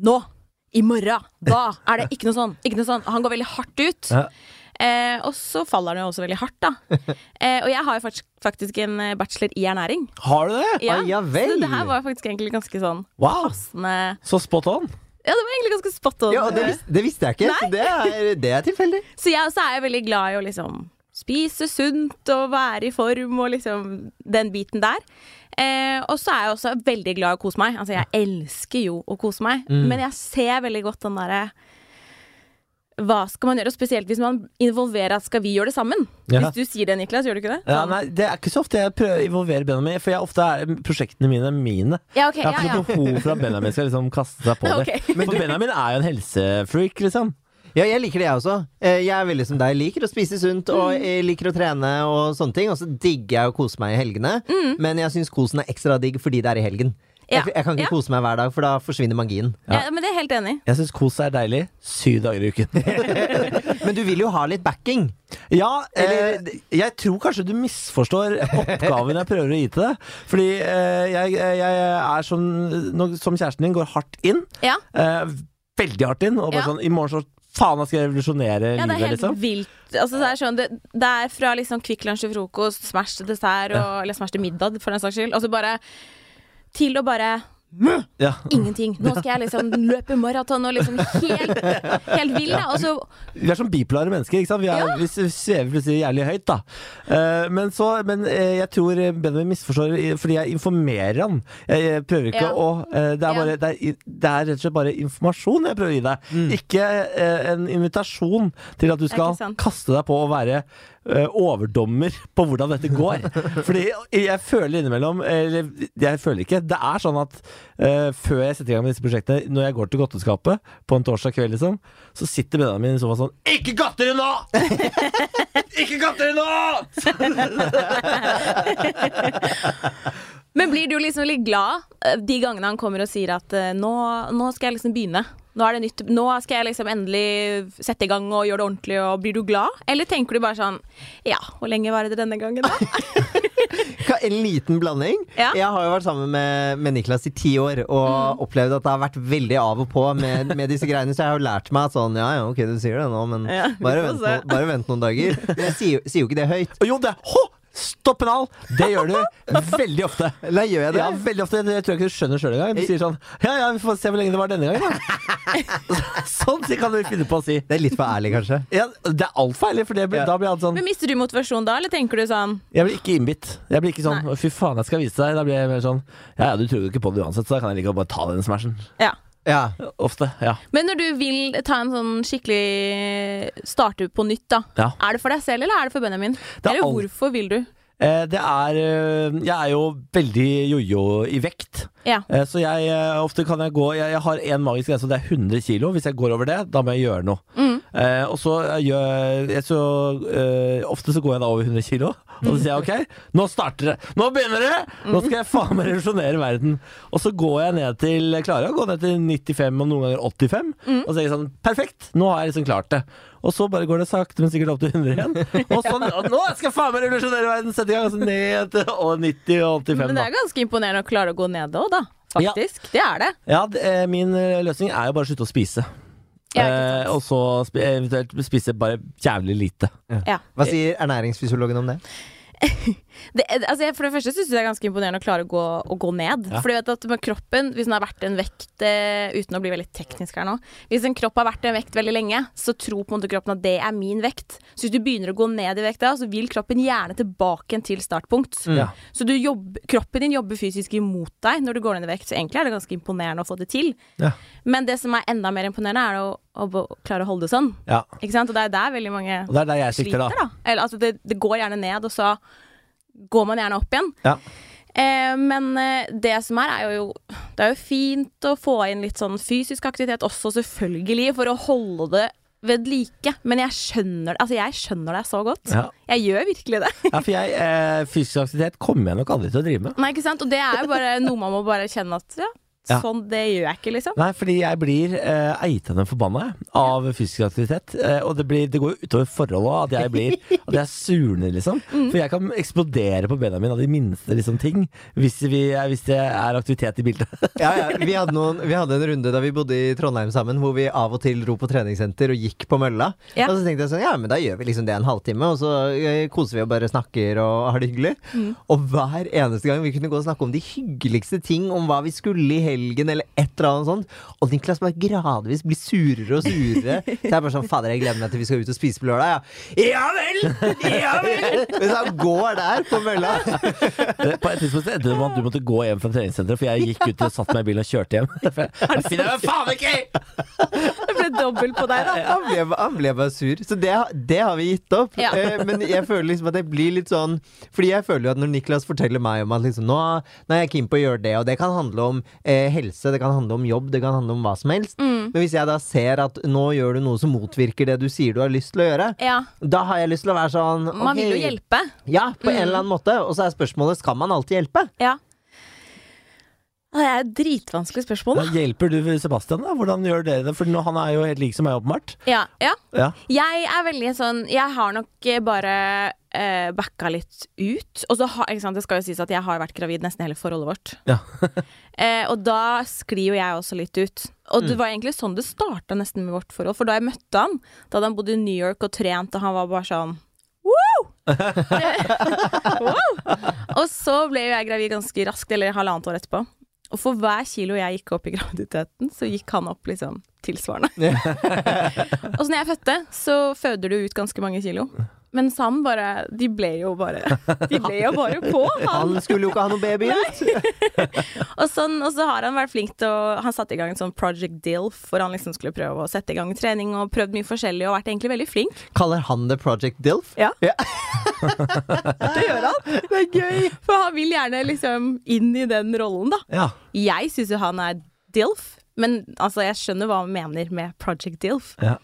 [SPEAKER 3] Nå! I morgen! Da er det ikke noe sånn! Ikke noe sånn. Han går veldig hardt ut.
[SPEAKER 1] Ja.
[SPEAKER 3] Eh, og så faller han jo også veldig hardt, da. Eh, og jeg har jo faktisk, faktisk en eh, bachelor i ernæring.
[SPEAKER 1] Har du det?
[SPEAKER 2] Ah, ja vel.
[SPEAKER 3] Så det her var faktisk egentlig ganske sånn
[SPEAKER 1] Wow!
[SPEAKER 3] ne-
[SPEAKER 1] Så spot on.
[SPEAKER 3] Ja, det var egentlig ganske spot on.
[SPEAKER 2] Ja, og det, vis det visste jeg ikke, så det er, det er tilfeldig.
[SPEAKER 3] Så jeg også er jo veldig glad i å liksom spise sunt og være i form og liksom den biten der. Eh, og så er jeg også veldig glad i å kose meg. Altså, jeg elsker jo å kose meg,
[SPEAKER 1] Mm.
[SPEAKER 3] men jeg ser veldig godt den derre hva skal man gjøre? Og Spesielt hvis man involverer at skal vi gjøre det sammen?
[SPEAKER 1] Ja.
[SPEAKER 3] Hvis du sier det, Niklas, gjør du ikke det?
[SPEAKER 1] Ja,
[SPEAKER 3] Sånn,
[SPEAKER 1] nei, det er ikke så ofte jeg prøver å involvere Benjamin, for jeg ofte er prosjektene mine mine.
[SPEAKER 3] ja, ok,
[SPEAKER 1] Jeg har
[SPEAKER 3] ja,
[SPEAKER 1] ikke
[SPEAKER 3] ja.
[SPEAKER 1] noe behov for at Benjamin skal liksom kaste seg
[SPEAKER 3] [laughs]
[SPEAKER 1] på det.
[SPEAKER 3] Ok.
[SPEAKER 1] Men for Benjamin er jo en helsefreak, liksom.
[SPEAKER 2] Ja, jeg liker det, jeg også. Eh, Jeg er veldig som deg. Liker å spise sunt og
[SPEAKER 3] Mm.
[SPEAKER 2] eh, liker å trene og sånne ting. Og så digger jeg å kose meg i helgene, men jeg syns kosen er ekstra digg fordi det er i helgen.
[SPEAKER 3] Mm. Ja.
[SPEAKER 2] Jeg, jeg kan ikke
[SPEAKER 3] Ja.
[SPEAKER 2] kose meg hver dag, for da forsvinner magien.
[SPEAKER 3] Ja, men det er jeg helt enig i.
[SPEAKER 1] Jeg syns kos er deilig syv dager i uken.
[SPEAKER 2] Men du vil jo ha litt backing.
[SPEAKER 1] [laughs] Ja,
[SPEAKER 2] Eller-
[SPEAKER 1] eh, jeg tror kanskje du misforstår oppgaven jeg prøver å gi til deg. Fordi eh, jeg, jeg er som, nå- som kjæresten din, går hardt inn.
[SPEAKER 3] Ja,
[SPEAKER 1] Eh, veldig hardt inn. Og bare
[SPEAKER 3] Ja.
[SPEAKER 1] sånn, i morgen så faen, jeg skal revolusjonere
[SPEAKER 3] ja det er
[SPEAKER 1] livet,
[SPEAKER 3] helt
[SPEAKER 1] liksom.
[SPEAKER 3] vilt. Altså, det, er sånn, det, det er fra liksom Kvikk Lunsj til frokost, Smash til dessert, og, eller Smash til middag, for den saks skyld. Altså bare til å bare
[SPEAKER 1] Ja.
[SPEAKER 3] ingenting. Nå skal jeg liksom løpe maraton og liksom helt, helt vill, da. Og så
[SPEAKER 1] Vi er som bipolare mennesker. ikke sant? Vi, er,
[SPEAKER 3] Ja.
[SPEAKER 1] vi svever plutselig jævlig høyt, da. Eh, men så, men eh, jeg tror Benjamin misforstår i- fordi jeg informerer han. Jeg, jeg prøver ikke
[SPEAKER 3] Ja.
[SPEAKER 1] å eh, det, er
[SPEAKER 3] Ja.
[SPEAKER 1] bare, det, er, i- det er rett og slett bare informasjon jeg prøver å gi deg.
[SPEAKER 3] Mm.
[SPEAKER 1] Ikke eh, en invitasjon til at du
[SPEAKER 3] ikke
[SPEAKER 1] skal
[SPEAKER 3] sant.
[SPEAKER 1] kaste deg på å være eh, overdommer på hvordan dette går. Fordi jeg føler innimellom Eller jeg føler ikke. Det er sånn at eh, før jeg setter i gang med disse prosjektene, når jeg går til godteskapet på en torsdag kveld, liksom, så sitter Benjamin i sofaen sånn Ikke godteri nå! Ikke godteri nå!
[SPEAKER 3] Men blir du liksom litt glad eh, de gangene han kommer og sier at eh, nå, nå skal jeg liksom begynne. Nå er det nytt. Nå skal jeg liksom endelig sette i gang og gjøre det ordentlig, og blir du glad? Eller tenker du bare sånn Ja, hvor lenge varer det denne gangen, da?
[SPEAKER 1] [laughs]
[SPEAKER 2] Ka- En liten blanding.
[SPEAKER 3] Ja. Mm.
[SPEAKER 2] Jeg har jo vært sammen med, med Niklas i ti år og opplevd at det har vært veldig av og på med, med disse greiene, så jeg har jo lært meg at sånn Ja, ja, ok, du sier det nå, men
[SPEAKER 3] Ja, vi
[SPEAKER 2] bare,
[SPEAKER 3] får
[SPEAKER 2] vent
[SPEAKER 3] se.
[SPEAKER 2] noen, bare vent noen dager. Men jeg sier, jo- sier jo ikke det høyt.
[SPEAKER 1] Og jo, det Hå! Stopp en hal! Det gjør du veldig ofte.
[SPEAKER 2] Eller gjør jeg det?
[SPEAKER 1] Ja, veldig ofte. Jeg tror jeg ikke du skjønner sjøl engang. Du sier sånn Ja ja, vi får se hvor lenge det var denne gangen, da. [laughs] Sånn kan du finne på å si.
[SPEAKER 2] Det er litt for ærlig, kanskje.
[SPEAKER 1] Ja, det er altfor ærlig, for det blir,
[SPEAKER 2] Ja.
[SPEAKER 1] da blir han sånn
[SPEAKER 3] Men mister du motivasjon da, eller tenker du sånn
[SPEAKER 1] Jeg blir ikke innbitt. Jeg blir ikke sånn 'fy faen, jeg skal vise deg'. Da blir jeg mer sånn 'ja ja, du tror jo ikke på det uansett, så da kan jeg like å bare ta den smashen'.
[SPEAKER 3] Ja.
[SPEAKER 2] Ja.
[SPEAKER 1] Ofte. Ja.
[SPEAKER 3] Men når du vil ta en sånn skikkelig eh, starte på nytt, da.
[SPEAKER 1] Ja.
[SPEAKER 3] Er det for deg selv, eller er det for Benjamin?
[SPEAKER 1] er
[SPEAKER 3] Eller
[SPEAKER 1] alt-
[SPEAKER 3] hvorfor vil du?
[SPEAKER 1] Eh, det er eh, Jeg er jo veldig jojo i vekt.
[SPEAKER 3] Ja.
[SPEAKER 1] Eh, Så jeg, eh, ofte kan jeg gå Jeg, jeg har en magisk grense, og det er 100 kilo. Hvis jeg går over det, da må jeg gjøre noe.
[SPEAKER 3] Mm.
[SPEAKER 1] Eh, og så eh, gjør jeg så, eh, Ofte så går jeg da over 100 kilo, og så
[SPEAKER 3] Mm.
[SPEAKER 1] sier jeg OK, nå starter det! Nå begynner det! Nå skal jeg faen meg revolusjonere verden! Og så går jeg ned til jeg Klarer å gå ned til 95, og noen ganger 85.
[SPEAKER 3] Mm.
[SPEAKER 1] Og så er jeg sånn Perfekt! Nå har jeg liksom klart det. Og så bare går det sakte, men sikkert opp til 100
[SPEAKER 3] [laughs]
[SPEAKER 1] igjen. Og sånn, og nå skal jeg faen meg revolusjonere verden! Sette i gang, og så ned til og 90 og 85.
[SPEAKER 3] Men
[SPEAKER 1] da.
[SPEAKER 3] det er ganske imponerende å klare å gå ned òg, da.
[SPEAKER 1] Ja.
[SPEAKER 3] Faktisk. Det er det.
[SPEAKER 1] Ja, d- eh, min eh, løsning er jo bare å slutte å spise.
[SPEAKER 3] Ja, ikke sant.
[SPEAKER 1] Eh, og så sp eventuelt spise bare jævlig lite.
[SPEAKER 3] Ja.
[SPEAKER 2] Hva sier ernæringsfysiologen om det?
[SPEAKER 3] Det, altså jeg, for det første syns jeg det er ganske imponerende å klare å gå, å gå ned.
[SPEAKER 1] Ja.
[SPEAKER 3] For du vet at med kroppen, hvis den har vært en vekt eh, Uten å bli veldig teknisk her nå. Hvis en kropp har vært en vekt veldig lenge, så tror på en måte kroppen at det er min vekt. Så hvis du begynner å gå ned i vekt da, så vil kroppen gjerne tilbake igjen til startpunkt.
[SPEAKER 1] Mm. Ja.
[SPEAKER 3] Så du jobb, kroppen din jobber fysisk imot deg når du går ned i vekt, så egentlig er det ganske imponerende å få det til.
[SPEAKER 1] Ja.
[SPEAKER 3] Men det som er enda mer imponerende, er å, å bo- klare å holde det sånn.
[SPEAKER 1] Ja.
[SPEAKER 3] Ikke sant? Og det er der veldig mange
[SPEAKER 1] Og det er der jeg sikter,
[SPEAKER 3] sliter,
[SPEAKER 1] da.
[SPEAKER 3] da. Eller, altså, det, det går gjerne ned, og så går man gjerne opp igjen.
[SPEAKER 1] Ja.
[SPEAKER 3] Eh, men eh, det som er, er jo Det er jo fint å få inn litt sånn fysisk aktivitet også, selvfølgelig, for å holde det ved like, men jeg skjønner, altså, jeg skjønner deg så godt.
[SPEAKER 1] Ja.
[SPEAKER 3] Jeg gjør virkelig
[SPEAKER 1] [laughs]
[SPEAKER 3] det.
[SPEAKER 1] Ja, for jeg, eh, fysisk aktivitet kommer jeg nok aldri til å drive med.
[SPEAKER 3] Nei, ikke sant? Og det er jo bare noe man må bare kjenne at ja,
[SPEAKER 1] Ja.
[SPEAKER 3] sånn, det gjør jeg ikke, liksom.
[SPEAKER 1] Nei, fordi jeg blir eh, eitende forbanna jeg, av fysisk aktivitet. Eh, og det, blir, det går jo utover forholdet også, at jeg blir At jeg surner,
[SPEAKER 3] [laughs]
[SPEAKER 1] liksom.
[SPEAKER 3] Mm.
[SPEAKER 1] For jeg kan eksplodere på beina mine av de minste liksom, ting hvis, vi, hvis det er aktivitet i bildet. [laughs]
[SPEAKER 2] Ja, ja. Vi, hadde noen, vi hadde en runde da vi bodde i Trondheim sammen, hvor vi av og til dro på treningssenter og gikk på mølla.
[SPEAKER 3] Ja.
[SPEAKER 2] Og så tenkte jeg sånn, ja, men da gjør vi liksom det en halvtime, og så eh, koser vi og bare snakker og har det hyggelig. Og hver eneste gang vi kunne gå og snakke om de hyggeligste ting, om hva vi skulle i helgen, eller et eller annet sånt. Og Niklas bare gradvis blir surere og surere. Så jeg bare sånn, fader, jeg gleder meg til vi skal ut og spise på lørdag, ja. Ja vel! Ja vel! Mens han går der på mølla.
[SPEAKER 1] Eh, På et tidspunkt så endte det med at du måtte gå hjem fra treningssenteret, for jeg gikk ut og satte meg i bilen og kjørte [laughs] hjem. For jeg, jeg finner meg faen ikke i!
[SPEAKER 3] Det ble dobbelt på
[SPEAKER 1] [laughs]
[SPEAKER 3] deg, da.
[SPEAKER 2] Han ble, han ble bare sur. Så det, det har vi gitt opp.
[SPEAKER 3] Ja.
[SPEAKER 2] Eh, men jeg føler liksom at jeg blir litt sånn Fordi jeg føler jo at når Niklas forteller meg om at liksom, nå, nå er jeg keen på å gjøre det, og det kan handle om eh, helse, det kan handle om jobb, det kan handle om hva som helst.
[SPEAKER 3] Mm.
[SPEAKER 2] Men hvis jeg da ser at nå gjør du noe som motvirker det du sier du har lyst til å gjøre,
[SPEAKER 3] Ja.
[SPEAKER 2] da har jeg lyst til å være sånn
[SPEAKER 3] Man vil jo
[SPEAKER 2] ok.
[SPEAKER 3] hjelpe. Mm.
[SPEAKER 2] Ja, på en eller annen måte. Og så er spørsmålet skal man alltid hjelpe?
[SPEAKER 3] Ja. Det er et dritvanskelig spørsmål,
[SPEAKER 1] Da
[SPEAKER 3] da.
[SPEAKER 1] hjelper du Sebastian, da? Hvordan gjør dere det? For nå, han er jo helt lik som meg, åpenbart.
[SPEAKER 3] Ja, ja.
[SPEAKER 1] Ja.
[SPEAKER 3] Jeg er veldig sånn Jeg har nok eh, bare eh, backa litt ut. Og så har ikke sant, Det skal jo sies at jeg har vært gravid nesten hele forholdet vårt.
[SPEAKER 1] Ja.
[SPEAKER 3] eh, og da sklir jo jeg også litt ut. Og det var egentlig sånn det starta nesten med vårt forhold. For da jeg møtte han, da hadde han bodd i New York og trent, og han var bare sånn Wow! wow! Og så ble jo jeg gravid ganske raskt, eller halvannet år etterpå. Og for hver kilo jeg gikk opp i graviditeten, så gikk han opp liksom tilsvarende. Og så når jeg fødte, så føder du ut ganske mange kilo. Mens han bare De ble jo bare De ble jo bare på, han.
[SPEAKER 2] Han skulle jo ikke ha noen
[SPEAKER 3] [laughs]
[SPEAKER 2] baby.
[SPEAKER 3] Og, sånn, og så har han vært flink til å Han satte i gang en sånn Project DILF, hvor han liksom skulle prøve å sette i gang trening, og prøvd mye forskjellig, og vært egentlig veldig flink.
[SPEAKER 2] Kaller han det Project Dilf?
[SPEAKER 3] Ja.
[SPEAKER 2] Ja.
[SPEAKER 3] Det gjør han. [laughs] Det er gøy. For han vil gjerne liksom inn i den rollen, da.
[SPEAKER 1] ja.
[SPEAKER 3] Jeg syns jo han er DILF, men altså, jeg skjønner hva han mener med Project DILF.
[SPEAKER 1] Ja.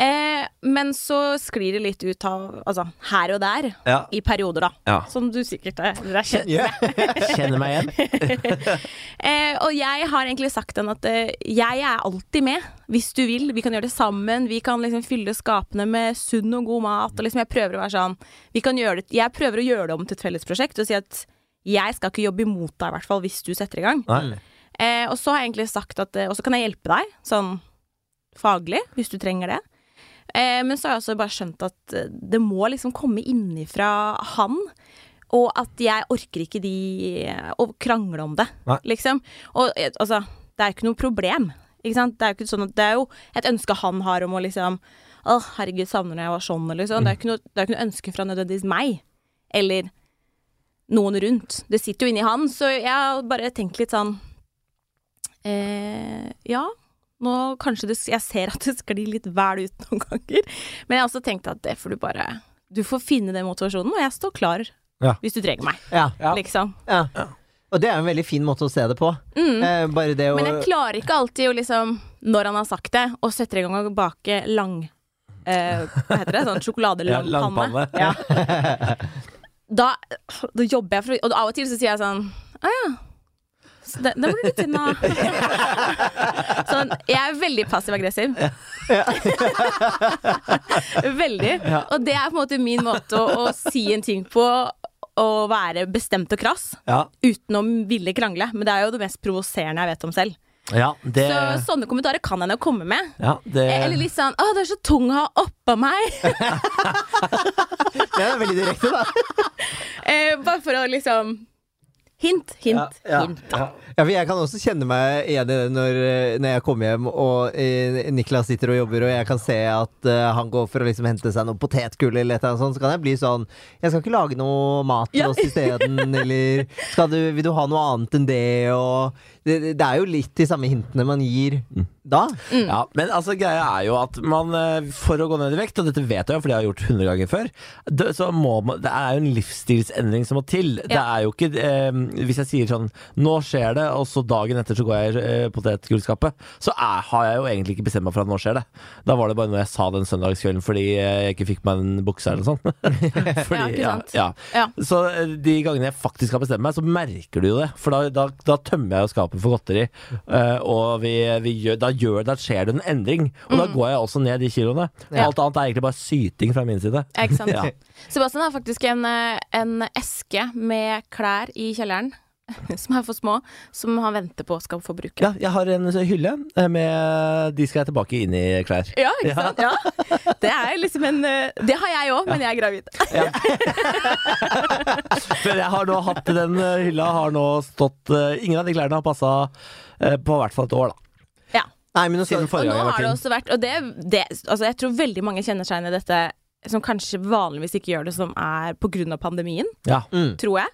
[SPEAKER 3] Eh, men så sklir det litt ut av Altså, her og der,
[SPEAKER 1] Ja.
[SPEAKER 3] i perioder, da.
[SPEAKER 1] Ja.
[SPEAKER 3] Som du sikkert er, dere kjenner.
[SPEAKER 2] Ja.
[SPEAKER 1] Kjenner meg igjen.
[SPEAKER 3] Eh, og jeg har egentlig sagt den at eh, jeg er alltid med, hvis du vil. Vi kan gjøre det sammen. Vi kan liksom fylle skapene med sunn og god mat. Og liksom jeg prøver å være sånn vi kan gjøre det, Jeg prøver å gjøre det om til et felles prosjekt og si at jeg skal ikke jobbe imot deg, i hvert fall, hvis du setter i gang.
[SPEAKER 1] Nei.
[SPEAKER 3] Eh, og så har jeg egentlig sagt at eh, Og så kan jeg hjelpe deg, sånn faglig, hvis du trenger det. Eh, men så har jeg også bare skjønt at eh, det må liksom komme innifra han. Og at jeg orker ikke de eh, å krangle om det,
[SPEAKER 1] Nei.
[SPEAKER 3] liksom. Og eh, altså, det er jo ikke noe problem. Ikke sant? Det er jo ikke sånn at det er jo et ønske han har om å liksom Å, herregud, savner når jeg var sånn, eller sånn. Det er jo ikke noe, det er jo ikke noe ønske fra nødvendigvis meg. Eller noen rundt. Det sitter jo inni han, så jeg har bare tenkt litt sånn eh, Ja, nå kanskje det, jeg ser at det sklir litt vel ut noen ganger, men jeg har også tenkt at det får du bare Du får finne den motivasjonen, og jeg står klar
[SPEAKER 1] Ja.
[SPEAKER 3] hvis du trenger meg,
[SPEAKER 2] Ja.
[SPEAKER 3] liksom.
[SPEAKER 2] Ja. Og det er en veldig fin måte å se det på. Eh, bare det å
[SPEAKER 3] Mm. Men jeg klarer ikke alltid å liksom, når han har sagt det, og setter i gang og bake lang eh, Hva heter det? Sånn
[SPEAKER 1] Ja,
[SPEAKER 3] sjokoladelangpanne.
[SPEAKER 1] langpanne.
[SPEAKER 3] Ja. Da, da jobber jeg for å Og av og til så sier jeg sånn Å ja. Så det, den blir litt tynn av. [laughs] Sånn, jeg er veldig passiv-aggressiv. [laughs] veldig. Og det er på en måte min måte å, å si en ting på, å være bestemt og krass,
[SPEAKER 1] Ja.
[SPEAKER 3] uten å ville krangle. Men det er jo det mest provoserende jeg vet om selv.
[SPEAKER 1] Ja, det
[SPEAKER 3] Så sånne kommentarer kan han jo komme med.
[SPEAKER 1] ja, det,
[SPEAKER 3] Eller litt sånn 'Å, du er så tung å ha oppå meg'.
[SPEAKER 2] [laughs]
[SPEAKER 1] [laughs]
[SPEAKER 2] Ja, det er veldig direkte, da.
[SPEAKER 3] Eh, bare for å liksom Hint, hint,
[SPEAKER 2] Ja, ja,
[SPEAKER 3] hint. Da.
[SPEAKER 2] Ja, for jeg kan også kjenne meg igjen i det når, eh, når jeg kommer hjem og eh, Niklas sitter og jobber, og jeg kan se at eh, han går for å liksom hente seg noe potetgull eller et eller annet sånt, så kan jeg bli sånn Jeg skal ikke lage noe mat til
[SPEAKER 3] Ja.
[SPEAKER 2] oss
[SPEAKER 3] [laughs]
[SPEAKER 2] isteden, eller skal du, Vil du ha noe annet enn det, og det, det er jo litt de samme hintene man gir da.
[SPEAKER 3] Mm.
[SPEAKER 1] Ja, men altså greia er jo at man eh, for å gå ned i vekt, og dette vet jeg jo fordi jeg har gjort 100 ganger før, det, så må man, det er jo en livsstilsendring som må til. Det
[SPEAKER 3] Ja.
[SPEAKER 1] er jo ikke eh, Hvis jeg sier sånn Nå skjer det, og så dagen etter så går jeg i eh, potetgullskapet, så er, har jeg jo egentlig ikke bestemt meg for at nå skjer det. Da var det bare noe jeg sa den søndagskvelden fordi eh, jeg ikke fikk meg en bukse eller noe sånt. [laughs]
[SPEAKER 3] [laughs] Ja, ikke sant.
[SPEAKER 1] Ja, ja.
[SPEAKER 3] Ja.
[SPEAKER 1] Så eh, de gangene jeg faktisk har bestemt meg, så merker du jo det. For da, da, da tømmer jeg jo skapet for godteri. eh, og vi, vi gjør, da, gjør, da skjer det en endring. Og da går jeg også ned de kiloene. Og
[SPEAKER 3] Mm. Ja.
[SPEAKER 1] alt annet er egentlig bare syting fra min side.
[SPEAKER 3] Ja, Ikke sant?
[SPEAKER 1] Ja.
[SPEAKER 3] Sebastian har faktisk en, eh, en eske med klær i kjelleren, [laughs] som er for små, som han venter på skal få bruke.
[SPEAKER 1] Ja, jeg har en sånn hylle eh, med De skal jeg tilbake inn i klær.
[SPEAKER 3] Ja, ikke sant? Ja. Det er liksom en eh, Det har jeg òg, men jeg er gravid.
[SPEAKER 1] Men jeg har nå hatt den eh, hylla har nå stått eh, Ingen av de klærne har passa på hvert fall et år, da.
[SPEAKER 3] Ja.
[SPEAKER 2] Nei, men nå skal
[SPEAKER 1] Siden
[SPEAKER 3] Og
[SPEAKER 1] forrige
[SPEAKER 3] nå
[SPEAKER 1] gang jeg
[SPEAKER 3] har
[SPEAKER 1] var
[SPEAKER 3] det
[SPEAKER 1] inn.
[SPEAKER 3] også vært Og det, det Altså, jeg tror veldig mange kjenner seg inn i dette som kanskje vanligvis ikke gjør det, som er på grunn av pandemien,
[SPEAKER 1] Ja.
[SPEAKER 3] tror jeg.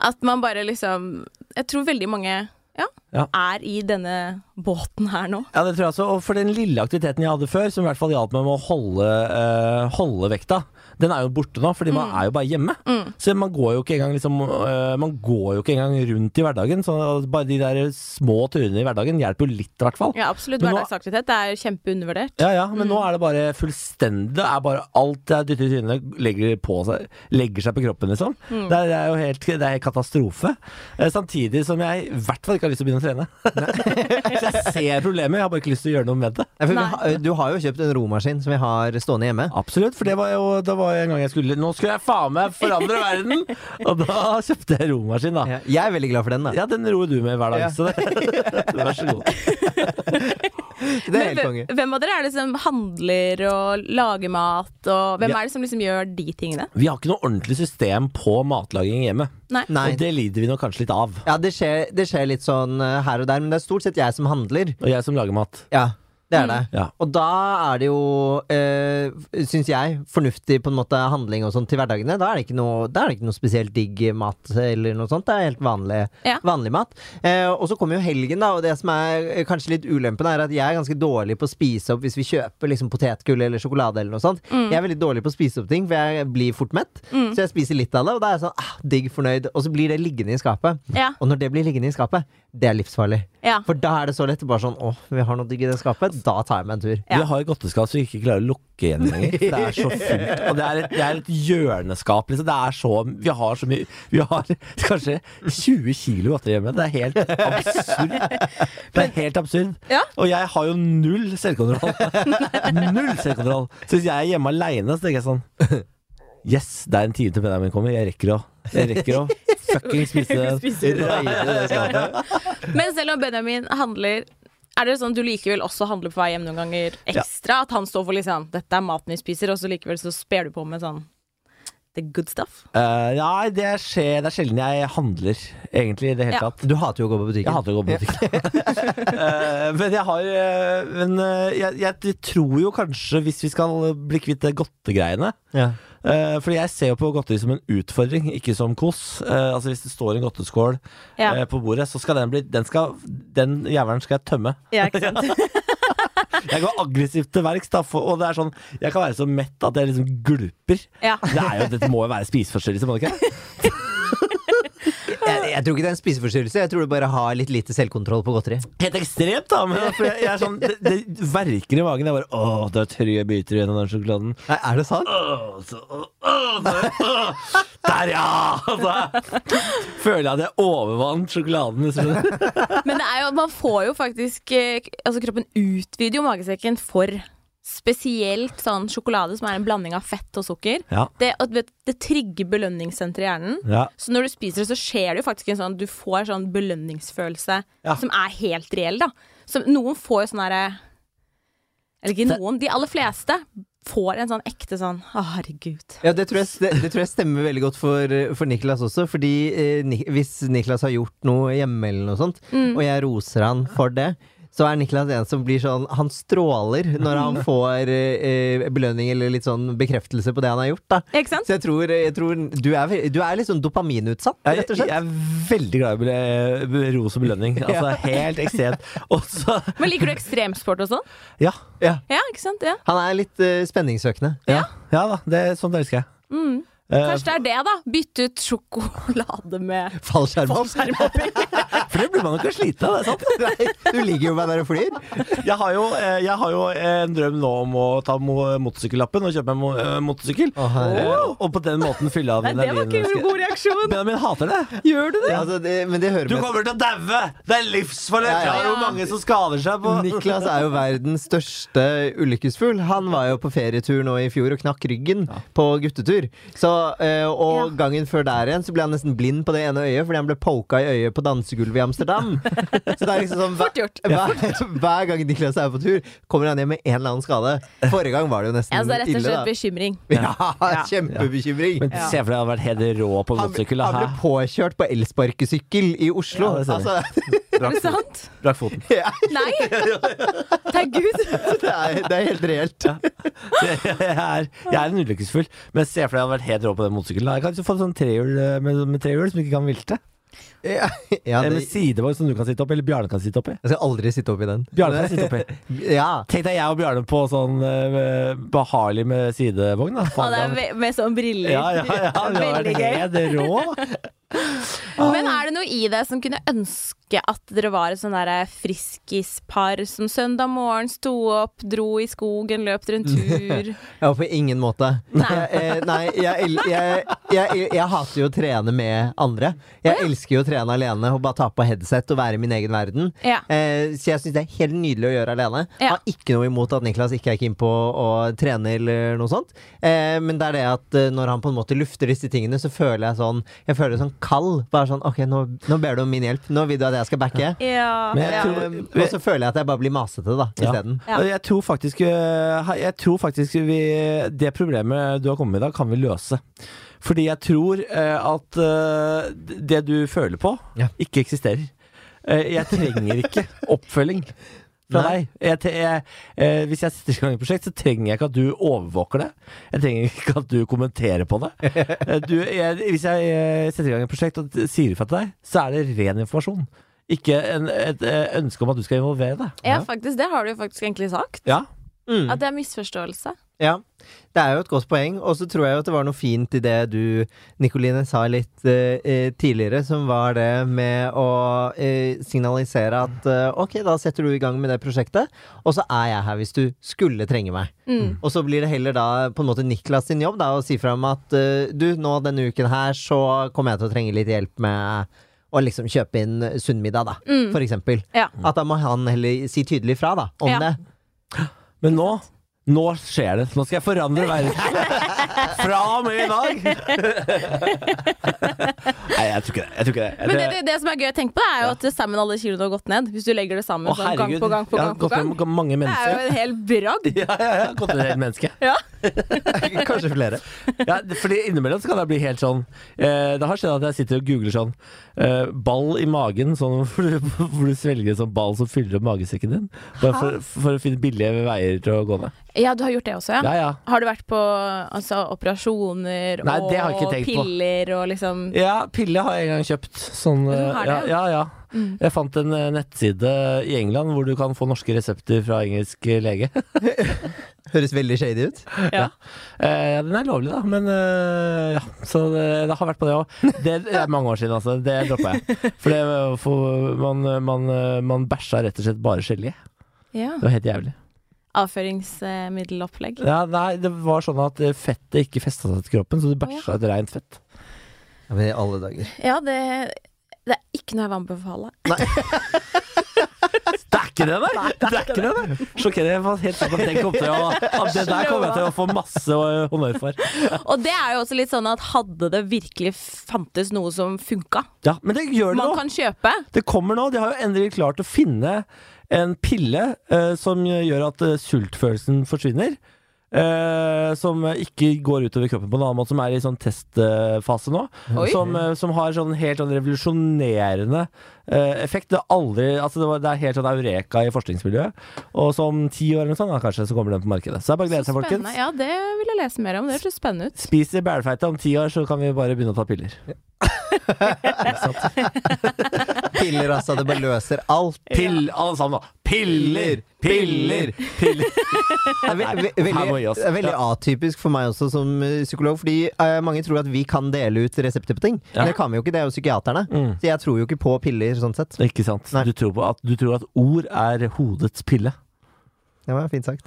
[SPEAKER 3] At man bare liksom Jeg tror veldig mange ja,
[SPEAKER 1] Ja.
[SPEAKER 3] er i denne båten her nå.
[SPEAKER 1] Ja, det tror jeg også. Og for den lille aktiviteten jeg hadde før, som i hvert fall hjalp meg med å holde, eh, holde vekta, den er jo borte nå, fordi man er jo bare hjemme. Så man går jo ikke engang liksom, eh, Man går jo ikke engang rundt i hverdagen. Så bare de der små turene i hverdagen hjelper jo litt, i hvert fall.
[SPEAKER 3] Ja, absolutt.
[SPEAKER 1] Men nå-
[SPEAKER 3] Hverdagsaktivitet det er jo kjempeundervurdert.
[SPEAKER 1] Ja, ja, men nå er det bare fullstendig Det er bare alt jeg dytter i trynet, legger, på seg, legger seg på kroppen, liksom. Det, er, det er jo helt det er helt katastrofe. Eh, samtidig som jeg i hvert fall ikke har lyst til å begynne å trene. [laughs] Så jeg ser problemet, jeg har bare ikke lyst til å gjøre noe med det.
[SPEAKER 2] Ja, for vi
[SPEAKER 3] Nei.
[SPEAKER 2] har- Du har jo kjøpt en romaskin som vi har stående hjemme.
[SPEAKER 1] Absolutt, for det var jo det var en gang jeg skulle Nå skulle jeg faen meg forandre verden! Og da kjøpte jeg romaskin, da.
[SPEAKER 2] Ja, Jeg er veldig glad for den, da.
[SPEAKER 1] Ja, den roer du med hver dag,
[SPEAKER 2] Ja.
[SPEAKER 1] så det, [laughs] vær så god.
[SPEAKER 2] Det er helt
[SPEAKER 3] Men
[SPEAKER 2] konge.
[SPEAKER 3] hvem- Hvem av dere er det som handler og lager mat, og hvem
[SPEAKER 1] Ja.
[SPEAKER 3] er det som liksom gjør de tingene?
[SPEAKER 1] Vi har ikke noe ordentlig system på matlaging hjemme,
[SPEAKER 3] Nei.
[SPEAKER 2] Nei.
[SPEAKER 1] og det lider vi nok kanskje litt av.
[SPEAKER 2] Ja, det skjer, det skjer litt sånn eh, her og der, men det er stort sett jeg som handler.
[SPEAKER 1] Og jeg som lager mat.
[SPEAKER 2] Mm. Ja, det er det.
[SPEAKER 1] Ja.
[SPEAKER 2] Og da er det jo, eh, syns jeg, fornuftig på en måte handling og sånn til hverdagene. Da er, det ikke noe, da er det ikke noe spesielt digg mat eller noe sånt. Det er helt vanlig,
[SPEAKER 3] Ja.
[SPEAKER 2] vanlig mat. Eh, og så kommer jo helgen, da, og det som er eh, kanskje litt ulempen, er at jeg er ganske dårlig på å spise opp hvis vi kjøper liksom potetgull eller sjokolade eller noe sånt.
[SPEAKER 3] Mm.
[SPEAKER 2] Jeg er veldig dårlig på å spise opp ting, for jeg blir fort mett. Så jeg spiser litt av det, og da er jeg sånn ah, digg fornøyd. Og så blir det liggende i skapet.
[SPEAKER 3] Ja.
[SPEAKER 2] Og når det blir liggende i skapet, det er livsfarlig.
[SPEAKER 3] Ja.
[SPEAKER 2] For da er det så lett bare sånn Å, vi har noe digg i det skapet. Da tar jeg meg en tur.
[SPEAKER 3] Ja.
[SPEAKER 1] Vi har et godteskap som vi ikke klarer å lukke igjen lenger. for Det er så fullt. Og det er et, det er et hjørneskap. Liksom. Det er så, vi har så mye Vi har [laughs] kanskje 20 kilo godteri hjemme. Det er helt absurd. Det er helt absurd.
[SPEAKER 3] Ja.
[SPEAKER 1] Og jeg har jo null selvkontroll. Null selvkontroll. Så hvis jeg er hjemme aleine, så tenker jeg sånn Yes, det er en time til Benjamin kommer. Jeg rekker å Jeg rekker å fucking spise
[SPEAKER 2] Spiser du raide i det skapet?
[SPEAKER 3] Men selv om Benjamin handler er det sånn at Du likevel også handler på vei hjem noen ganger ekstra? At han står for liksom 'dette er maten vi spiser', og så likevel så sper du på med sånn the good stuff?
[SPEAKER 1] Eh, Nei, det skjer Det er sjelden jeg handler, egentlig, i det hele
[SPEAKER 3] Ja.
[SPEAKER 1] tatt.
[SPEAKER 2] Du hater jo å gå på
[SPEAKER 1] Jeg
[SPEAKER 2] butikken.
[SPEAKER 1] hater å gå på butikken. [laughs] Eh, men jeg har eh, Men eh, jeg, jeg tror jo kanskje, hvis vi skal bli kvitt det godtegreiene
[SPEAKER 2] Ja.
[SPEAKER 1] eh, Fordi jeg ser jo på godteri som en utfordring, ikke som kos. Eh, altså Hvis det står en godteskål
[SPEAKER 3] Ja.
[SPEAKER 1] eh, på bordet, så skal den bli Den, skal, den jævelen skal jeg tømme.
[SPEAKER 3] Ja, ikke sant?
[SPEAKER 1] Jeg går aggressivt til verks, da, for, og det er sånn Jeg kan være så mett at jeg liksom gulper.
[SPEAKER 3] Ja.
[SPEAKER 1] Det er jo, dette må jo være spiseforstyrrelse, må det ikke?
[SPEAKER 2] Jeg, jeg tror ikke det er en spiseforstyrrelse. Jeg tror du bare har litt lite selvkontroll på godteri.
[SPEAKER 1] Helt ekstremt, da! Men for jeg, jeg er sånn, det, det verker i magen. Jeg bare Å, det er tre biter igjen av den sjokoladen.
[SPEAKER 2] Nei, er det sant?
[SPEAKER 1] Åh, så, åh, åh, der, åh. der, ja! Altså, føler jeg at jeg overvant sjokoladen. liksom. hvis du skjønner.
[SPEAKER 3] [laughs] Men det er jo, man får jo faktisk eh, Altså kroppen utvider jo magesekken for spesielt sånn sjokolade som er en blanding av fett og sukker.
[SPEAKER 1] Ja.
[SPEAKER 3] Det, at vet, det trigger belønningssenteret i hjernen.
[SPEAKER 1] Ja.
[SPEAKER 3] Så når du spiser det, så skjer det jo faktisk en sånn Du får sånn belønningsfølelse
[SPEAKER 1] Ja.
[SPEAKER 3] som er helt reell, da. Som, noen får jo sånn herre Eller ikke noen, de aller fleste får en sånn ekte sånn Å, herregud.
[SPEAKER 2] Ja, det tror, jeg, det, det tror jeg stemmer veldig godt for, for Niklas også. Fordi
[SPEAKER 3] Mm.
[SPEAKER 2] eh, Ni- hvis Niklas har gjort noe hjemme eller noe sånt, og jeg roser han for det, så er Niklas en som blir sånn Han stråler når [laughs] han får eh, eh, belønning eller litt sånn bekreftelse på det han har gjort. da
[SPEAKER 3] Ikke sant?
[SPEAKER 2] Så jeg tror, jeg tror du, er, ve- du er litt sånn dopaminutsatt,
[SPEAKER 1] Jeg,
[SPEAKER 2] rett og
[SPEAKER 1] jeg
[SPEAKER 2] slett.
[SPEAKER 1] er veldig glad i bel- ros og belønning. Altså helt ekstremt. Og så
[SPEAKER 3] Men liker du ekstremsport og sånn?
[SPEAKER 1] Ja.
[SPEAKER 2] Ja.
[SPEAKER 3] Ja, ikke sant? Ja.
[SPEAKER 2] Han er litt eh, spenningssøkende.
[SPEAKER 1] Ja, ja da. Det, sånt elsker jeg. Eh,
[SPEAKER 3] Kanskje det er det, da. Bytte ut sjokolade med
[SPEAKER 2] Fallskjerm.
[SPEAKER 3] skjermhopping.
[SPEAKER 1] [laughs] for det blir man jo ikke sliten av, det er sant?
[SPEAKER 2] Nei, [laughs] du ligger jo bare der og flyr.
[SPEAKER 1] Jeg har, jo, eh, jeg har jo en drøm nå om å ta mo motorsykkellappen og kjøpe meg mo eh, motorsykkel.
[SPEAKER 2] Å, herre.
[SPEAKER 1] Eh, og på den måten fylle av
[SPEAKER 3] Nei, det var ikke en
[SPEAKER 1] energien.
[SPEAKER 3] god reaksjon.
[SPEAKER 1] Benjamin hater det.
[SPEAKER 3] Gjør du det?
[SPEAKER 2] Ja, altså, det, men det hører
[SPEAKER 1] Du
[SPEAKER 2] med
[SPEAKER 1] kommer til å daue! Det er livsfarlig!
[SPEAKER 2] Ja,
[SPEAKER 1] Det
[SPEAKER 2] ja.
[SPEAKER 1] er jo mange som skader seg på
[SPEAKER 2] Niklas er jo verdens største ulykkesfugl. Han var jo på ferietur nå i fjor og knakk ryggen på guttetur. Så, eh, og gangen før der igjen så ble han nesten blind på det ene øyet fordi han ble poka i øyet på dansegulvet i Amsterdam.
[SPEAKER 3] [laughs]
[SPEAKER 2] så det er liksom sånn hver,
[SPEAKER 3] Fort gjort.
[SPEAKER 2] hver, hver gang Niklas er på tur, kommer han hjem med en eller annen skade. Forrige gang var det jo nesten
[SPEAKER 3] Ja, så det er rett og
[SPEAKER 2] ille,
[SPEAKER 3] slett bekymring.
[SPEAKER 2] da. Ja,
[SPEAKER 3] Ja.
[SPEAKER 2] kjempebekymring.
[SPEAKER 1] Men
[SPEAKER 3] Ja.
[SPEAKER 1] se for deg han hadde vært helt rå på
[SPEAKER 2] Han, ble-
[SPEAKER 1] motorsykkel.
[SPEAKER 2] han ble
[SPEAKER 1] da.
[SPEAKER 2] påkjørt på elsparkesykkel i Oslo.
[SPEAKER 1] Ja, det ser vi.
[SPEAKER 2] altså, [laughs]
[SPEAKER 3] Er det sant?
[SPEAKER 1] [laughs] Hæ? Brakk foten.
[SPEAKER 2] ja,
[SPEAKER 3] Nei! Takk Gud.
[SPEAKER 2] [laughs] det, er, det er helt reelt.
[SPEAKER 1] Jeg er, jeg er en ulykkesfull, men se for deg han hadde vært helt rå på den motorsykkelen. da. Jeg kan ikke få sånn trehjul eh, med, med trehjul som ikke kan vilte.
[SPEAKER 2] Ja, ja,
[SPEAKER 1] Eller
[SPEAKER 2] det,
[SPEAKER 1] med sidevogn som du kan sitte oppi, eller Bjarne kan sitte oppi.
[SPEAKER 2] Jeg skal aldri sitte oppi den.
[SPEAKER 1] Bjarne kan sitte oppi.
[SPEAKER 2] Ja.
[SPEAKER 1] Tenk deg jeg og Bjarne på sånn eh, på Harley med sidevogn. Da.
[SPEAKER 3] Og
[SPEAKER 1] Faen,
[SPEAKER 3] det er ve- med sånn briller.
[SPEAKER 1] ja, ja, ja, det var
[SPEAKER 3] Veldig gøy.
[SPEAKER 1] helt rå.
[SPEAKER 3] Men er det noe i det som kunne ønske at dere var et sånn derre friskispar som søndag morgen sto opp, dro i skogen, løp
[SPEAKER 1] [laughs]
[SPEAKER 3] dere en tur?
[SPEAKER 2] ja, på ingen måte.
[SPEAKER 3] Nei.
[SPEAKER 2] Jeg, eh, nei jeg, el- jeg, jeg, jeg hater jo å trene med andre. Jeg elsker jo å trene alene og bare ta på headset og være i min egen verden.
[SPEAKER 3] Ja.
[SPEAKER 2] Eh, så jeg syns det er helt nydelig å gjøre alene.
[SPEAKER 3] Ja.
[SPEAKER 2] Har ikke noe imot at Niklas ikke er keen på å trene eller noe sånt. Eh, men det er det at eh, når han på en måte lufter disse tingene, så føler jeg sånn Jeg føler sånn kald. Bare sånn OK, nå, nå ber du om min hjelp. Nå vil du at jeg skal backe.
[SPEAKER 3] Ja.
[SPEAKER 1] Men jeg
[SPEAKER 3] ja.
[SPEAKER 1] tror-
[SPEAKER 2] Eh, og så føler jeg at jeg bare blir masete, da,
[SPEAKER 1] Ja.
[SPEAKER 2] isteden.
[SPEAKER 3] Ja.
[SPEAKER 1] Jeg tror faktisk, eh, jeg tror faktisk vi, det problemet du har kommet med i dag, kan vi løse. Fordi jeg tror eh, at eh, det du føler på,
[SPEAKER 2] Ja.
[SPEAKER 1] ikke eksisterer. Eh, jeg trenger ikke
[SPEAKER 2] [laughs]
[SPEAKER 1] oppfølging fra
[SPEAKER 2] Nei.
[SPEAKER 1] deg. Jeg, te- jeg, eh, hvis jeg setter i gang et prosjekt, så trenger jeg ikke at du overvåker det. Jeg trenger ikke at du kommenterer på det. Eh, du, jeg, hvis jeg eh, setter i gang et prosjekt og t- sier ifra til deg, så er det ren informasjon. Ikke en, et eh, ønske om at du skal involvere deg.
[SPEAKER 3] ja, faktisk. Det har du jo faktisk egentlig sagt.
[SPEAKER 1] Ja.
[SPEAKER 2] Mm.
[SPEAKER 3] At det er misforståelse.
[SPEAKER 2] Ja, det er jo et godt poeng. Og så tror jeg jo at det var noe fint i det du, Nikoline, sa litt eh, eh, tidligere, som var det med å eh, signalisere at eh, ok, da setter du i gang med det prosjektet, og så er jeg her hvis du skulle trenge meg.
[SPEAKER 3] Mm.
[SPEAKER 2] Og så blir det heller da på en måte Niklas sin jobb da, å si fra om at eh, du, nå denne uken her så kommer jeg til å trenge litt hjelp med å liksom kjøpe inn sunn middag, da,
[SPEAKER 3] Mm.
[SPEAKER 2] for eksempel.
[SPEAKER 3] Ja.
[SPEAKER 2] At da må han heller si tydelig fra, da, om
[SPEAKER 3] Ja.
[SPEAKER 2] det.
[SPEAKER 1] Men nå nå skjer det. Nå skal jeg forandre verden. [laughs] Fra og med i dag. Nei, jeg tror ikke det. Jeg tror ikke det.
[SPEAKER 3] Men det, det, det som er gøy å tenke på, det er jo at sammen alle kiloene har gått ned. Hvis du legger det sammen
[SPEAKER 1] Å,
[SPEAKER 3] sånn, gang på gang på
[SPEAKER 1] jeg har
[SPEAKER 3] gang. på
[SPEAKER 1] gått
[SPEAKER 3] gang
[SPEAKER 1] med mange
[SPEAKER 3] Det er jo
[SPEAKER 1] mennesker.
[SPEAKER 3] en hel bragd.
[SPEAKER 1] [laughs] Ja, ja, ja. Gått med et helt menneske. [laughs]
[SPEAKER 3] Ja.
[SPEAKER 2] Kanskje flere.
[SPEAKER 1] Ja, fordi innimellom så kan jeg bli helt sånn eh, Det har skjedd at jeg sitter og googler sånn eh, Ball i magen, sånn [laughs] hvor du, hvor du svelger en sånn ball som fyller opp magesekken din. Bare for, for å finne billige veier til å gå ned.
[SPEAKER 3] ja, du har gjort det også, ja?
[SPEAKER 1] Ja, ja.
[SPEAKER 3] Har du vært på altså, operasjoner
[SPEAKER 1] Nei,
[SPEAKER 3] og
[SPEAKER 1] det har jeg ikke tenkt på.
[SPEAKER 3] piller og liksom
[SPEAKER 1] Ja, pille har jeg en gang kjøpt. Sånn,
[SPEAKER 3] Du
[SPEAKER 1] eh,
[SPEAKER 3] har
[SPEAKER 1] ja,
[SPEAKER 3] det,
[SPEAKER 1] ja, ja.
[SPEAKER 3] Mm.
[SPEAKER 1] Jeg fant en eh, nettside i England hvor du kan få norske resepter fra engelsk eh, lege. [laughs]
[SPEAKER 2] Høres veldig shady ut.
[SPEAKER 3] Ja.
[SPEAKER 1] Eh, ja, den er lovlig, da, men eh, ja. Så det, det har vært på det òg. Det er mange år siden, altså. Det droppa jeg. For, det, var for man, man, eh, man bæsja rett og slett bare gelé.
[SPEAKER 3] ja.
[SPEAKER 1] Det var helt jævlig.
[SPEAKER 3] Avføringsmiddelopplegg.
[SPEAKER 1] Ja, nei, det var sånn at eh, fettet ikke festa seg til kroppen, så du bæsja et reint fett.
[SPEAKER 2] Ja, men i alle dager.
[SPEAKER 3] Ja, det, det er ikke noe jeg vil anbefale.
[SPEAKER 1] Det er ikke det, nei! Det er ikke det, nei. Sjokkerende. Jeg var helt sikker på at den kom til å at det der kommer jeg til å få masse eh, honnør for.
[SPEAKER 3] Og det er jo også litt sånn at hadde det virkelig fantes noe som funka,
[SPEAKER 1] Ja, men det gjør det
[SPEAKER 3] man
[SPEAKER 1] nå.
[SPEAKER 3] kan kjøpe
[SPEAKER 1] Det kommer nå. De har jo endelig klart å finne en pille eh, som gjør at eh, sultfølelsen forsvinner. Eh, eh, som ikke går utover kroppen på en annen måte, som er i sånn testfase nå.
[SPEAKER 3] Oi.
[SPEAKER 1] Som, eh, som har sånn helt sånn revolusjonerende eh, effekt. Det, er aldri, altså det, var, det er helt sånn eureka i forskningsmiljøet. Og så om ti år eller noe sånt, da, kanskje, så kommer den på markedet. Så det er bare å glede
[SPEAKER 3] Så
[SPEAKER 1] seg,
[SPEAKER 3] spennende.
[SPEAKER 1] folkens.
[SPEAKER 3] Ja, det vil jeg lese mer om. Det høres spennende ut.
[SPEAKER 1] Spiser bælfeite om ti år, så kan vi bare begynne å ta piller.
[SPEAKER 2] Piller, altså. Det bare løser alt.
[SPEAKER 1] Pill, alle sammen, da. Piller, piller, piller.
[SPEAKER 2] Det er ve- ve-
[SPEAKER 1] Her må vi gi
[SPEAKER 2] veldig,
[SPEAKER 1] oss.
[SPEAKER 2] det er veldig atypisk for meg også som eh, psykolog, fordi eh, mange tror at vi kan dele ut resepter på ting. Men det kan vi jo ikke, det er jo psykiaterne.
[SPEAKER 1] Mm.
[SPEAKER 2] Så jeg tror jo ikke på piller sånn sett.
[SPEAKER 1] Ikke sant. Du tror, på at, du tror at ord er hodets pille.
[SPEAKER 2] Det var fint sagt.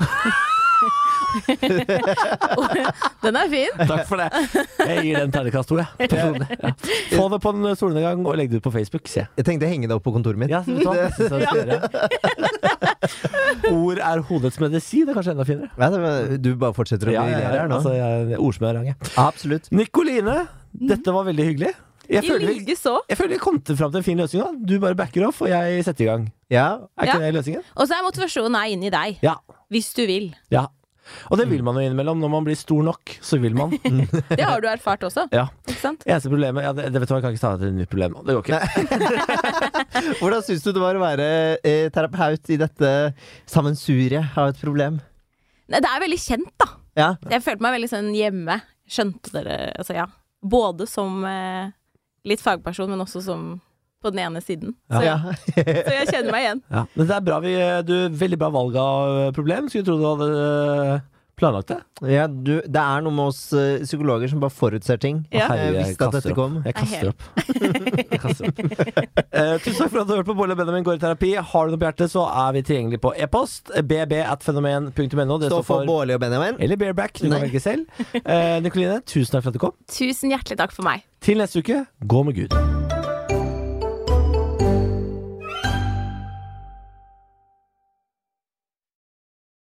[SPEAKER 3] Den er fin.
[SPEAKER 1] Takk for det. Jeg gir den terningkast to, jeg. Personlig, Ja. Få det på en eh, solnedgang og legg det ut på Facebook, sier jeg.
[SPEAKER 2] Jeg tenkte å henge det opp på kontoret mitt.
[SPEAKER 1] Ja, så vet du hva? Det synes jeg du skal gjøre. Ord er hodets medisin. Det er kanskje enda finere.
[SPEAKER 2] Ja, det var- Du bare fortsetter å
[SPEAKER 1] Ja,
[SPEAKER 2] bli
[SPEAKER 1] ja,
[SPEAKER 2] her
[SPEAKER 1] ja,
[SPEAKER 2] nå.
[SPEAKER 1] altså, jeg er ordsmed av rang, jeg.
[SPEAKER 2] Absolutt.
[SPEAKER 1] Nikoline, dette var veldig hyggelig. Jeg
[SPEAKER 3] I
[SPEAKER 1] føler,
[SPEAKER 3] like så.
[SPEAKER 1] jeg føler jeg kom til fram til en fin løsning. da Du bare backer off, og jeg setter i gang.
[SPEAKER 2] Ja,
[SPEAKER 1] Er ikke
[SPEAKER 3] Ja.
[SPEAKER 1] det løsningen?
[SPEAKER 3] Og så er motivasjonen er inni deg.
[SPEAKER 1] Ja.
[SPEAKER 3] Hvis du vil.
[SPEAKER 1] ja. Og det vil man jo innimellom. Når man blir stor nok, så vil man.
[SPEAKER 3] Det har du erfart også.
[SPEAKER 1] Ja.
[SPEAKER 3] Ikke sant?
[SPEAKER 1] Eneste problemet ja, det, det vet du, hva, Jeg kan ikke ta det til et nytt problem. nå. Det går ikke.
[SPEAKER 2] Hvordan syns du det var å være eh, terapeut i dette sammensuriet av et problem?
[SPEAKER 3] Nei, det er veldig kjent, da.
[SPEAKER 2] Ja,
[SPEAKER 3] Jeg følte meg veldig sånn hjemme. Skjønte dere Altså, ja. Både som eh, litt fagperson, men også som på den ene siden. Så,
[SPEAKER 2] ja.
[SPEAKER 3] så jeg kjenner meg igjen.
[SPEAKER 1] Ja. Men det er bra vi, eh, du, veldig bra valg av eh, problem. Skulle tro du hadde eh, planlagt det.
[SPEAKER 2] ja du, det er noe med oss eh, psykologer som bare forutser ting.
[SPEAKER 3] Ja.
[SPEAKER 1] Herre,
[SPEAKER 2] Jeg visste at
[SPEAKER 1] kaster
[SPEAKER 2] dette
[SPEAKER 1] opp.
[SPEAKER 2] kom.
[SPEAKER 1] Jeg kaster
[SPEAKER 3] Nei,
[SPEAKER 1] opp. [laughs] Jeg kaster opp. Eh, tusen takk for at du har hørt på Bolle og Benjamin går i terapi. Har du noe på hjertet, så er vi tilgjengelig på e-post. bb at fenomen punktum no. Det
[SPEAKER 2] Så
[SPEAKER 1] står
[SPEAKER 2] for
[SPEAKER 1] for
[SPEAKER 2] Bårli og Benjamin.
[SPEAKER 1] Eller bareback. Du kan
[SPEAKER 2] Nei.
[SPEAKER 1] velge selv. Eh, Nikoline, tusen takk for at du kom.
[SPEAKER 3] Tusen hjertelig takk for meg.
[SPEAKER 1] Til neste uke, gå med Gud.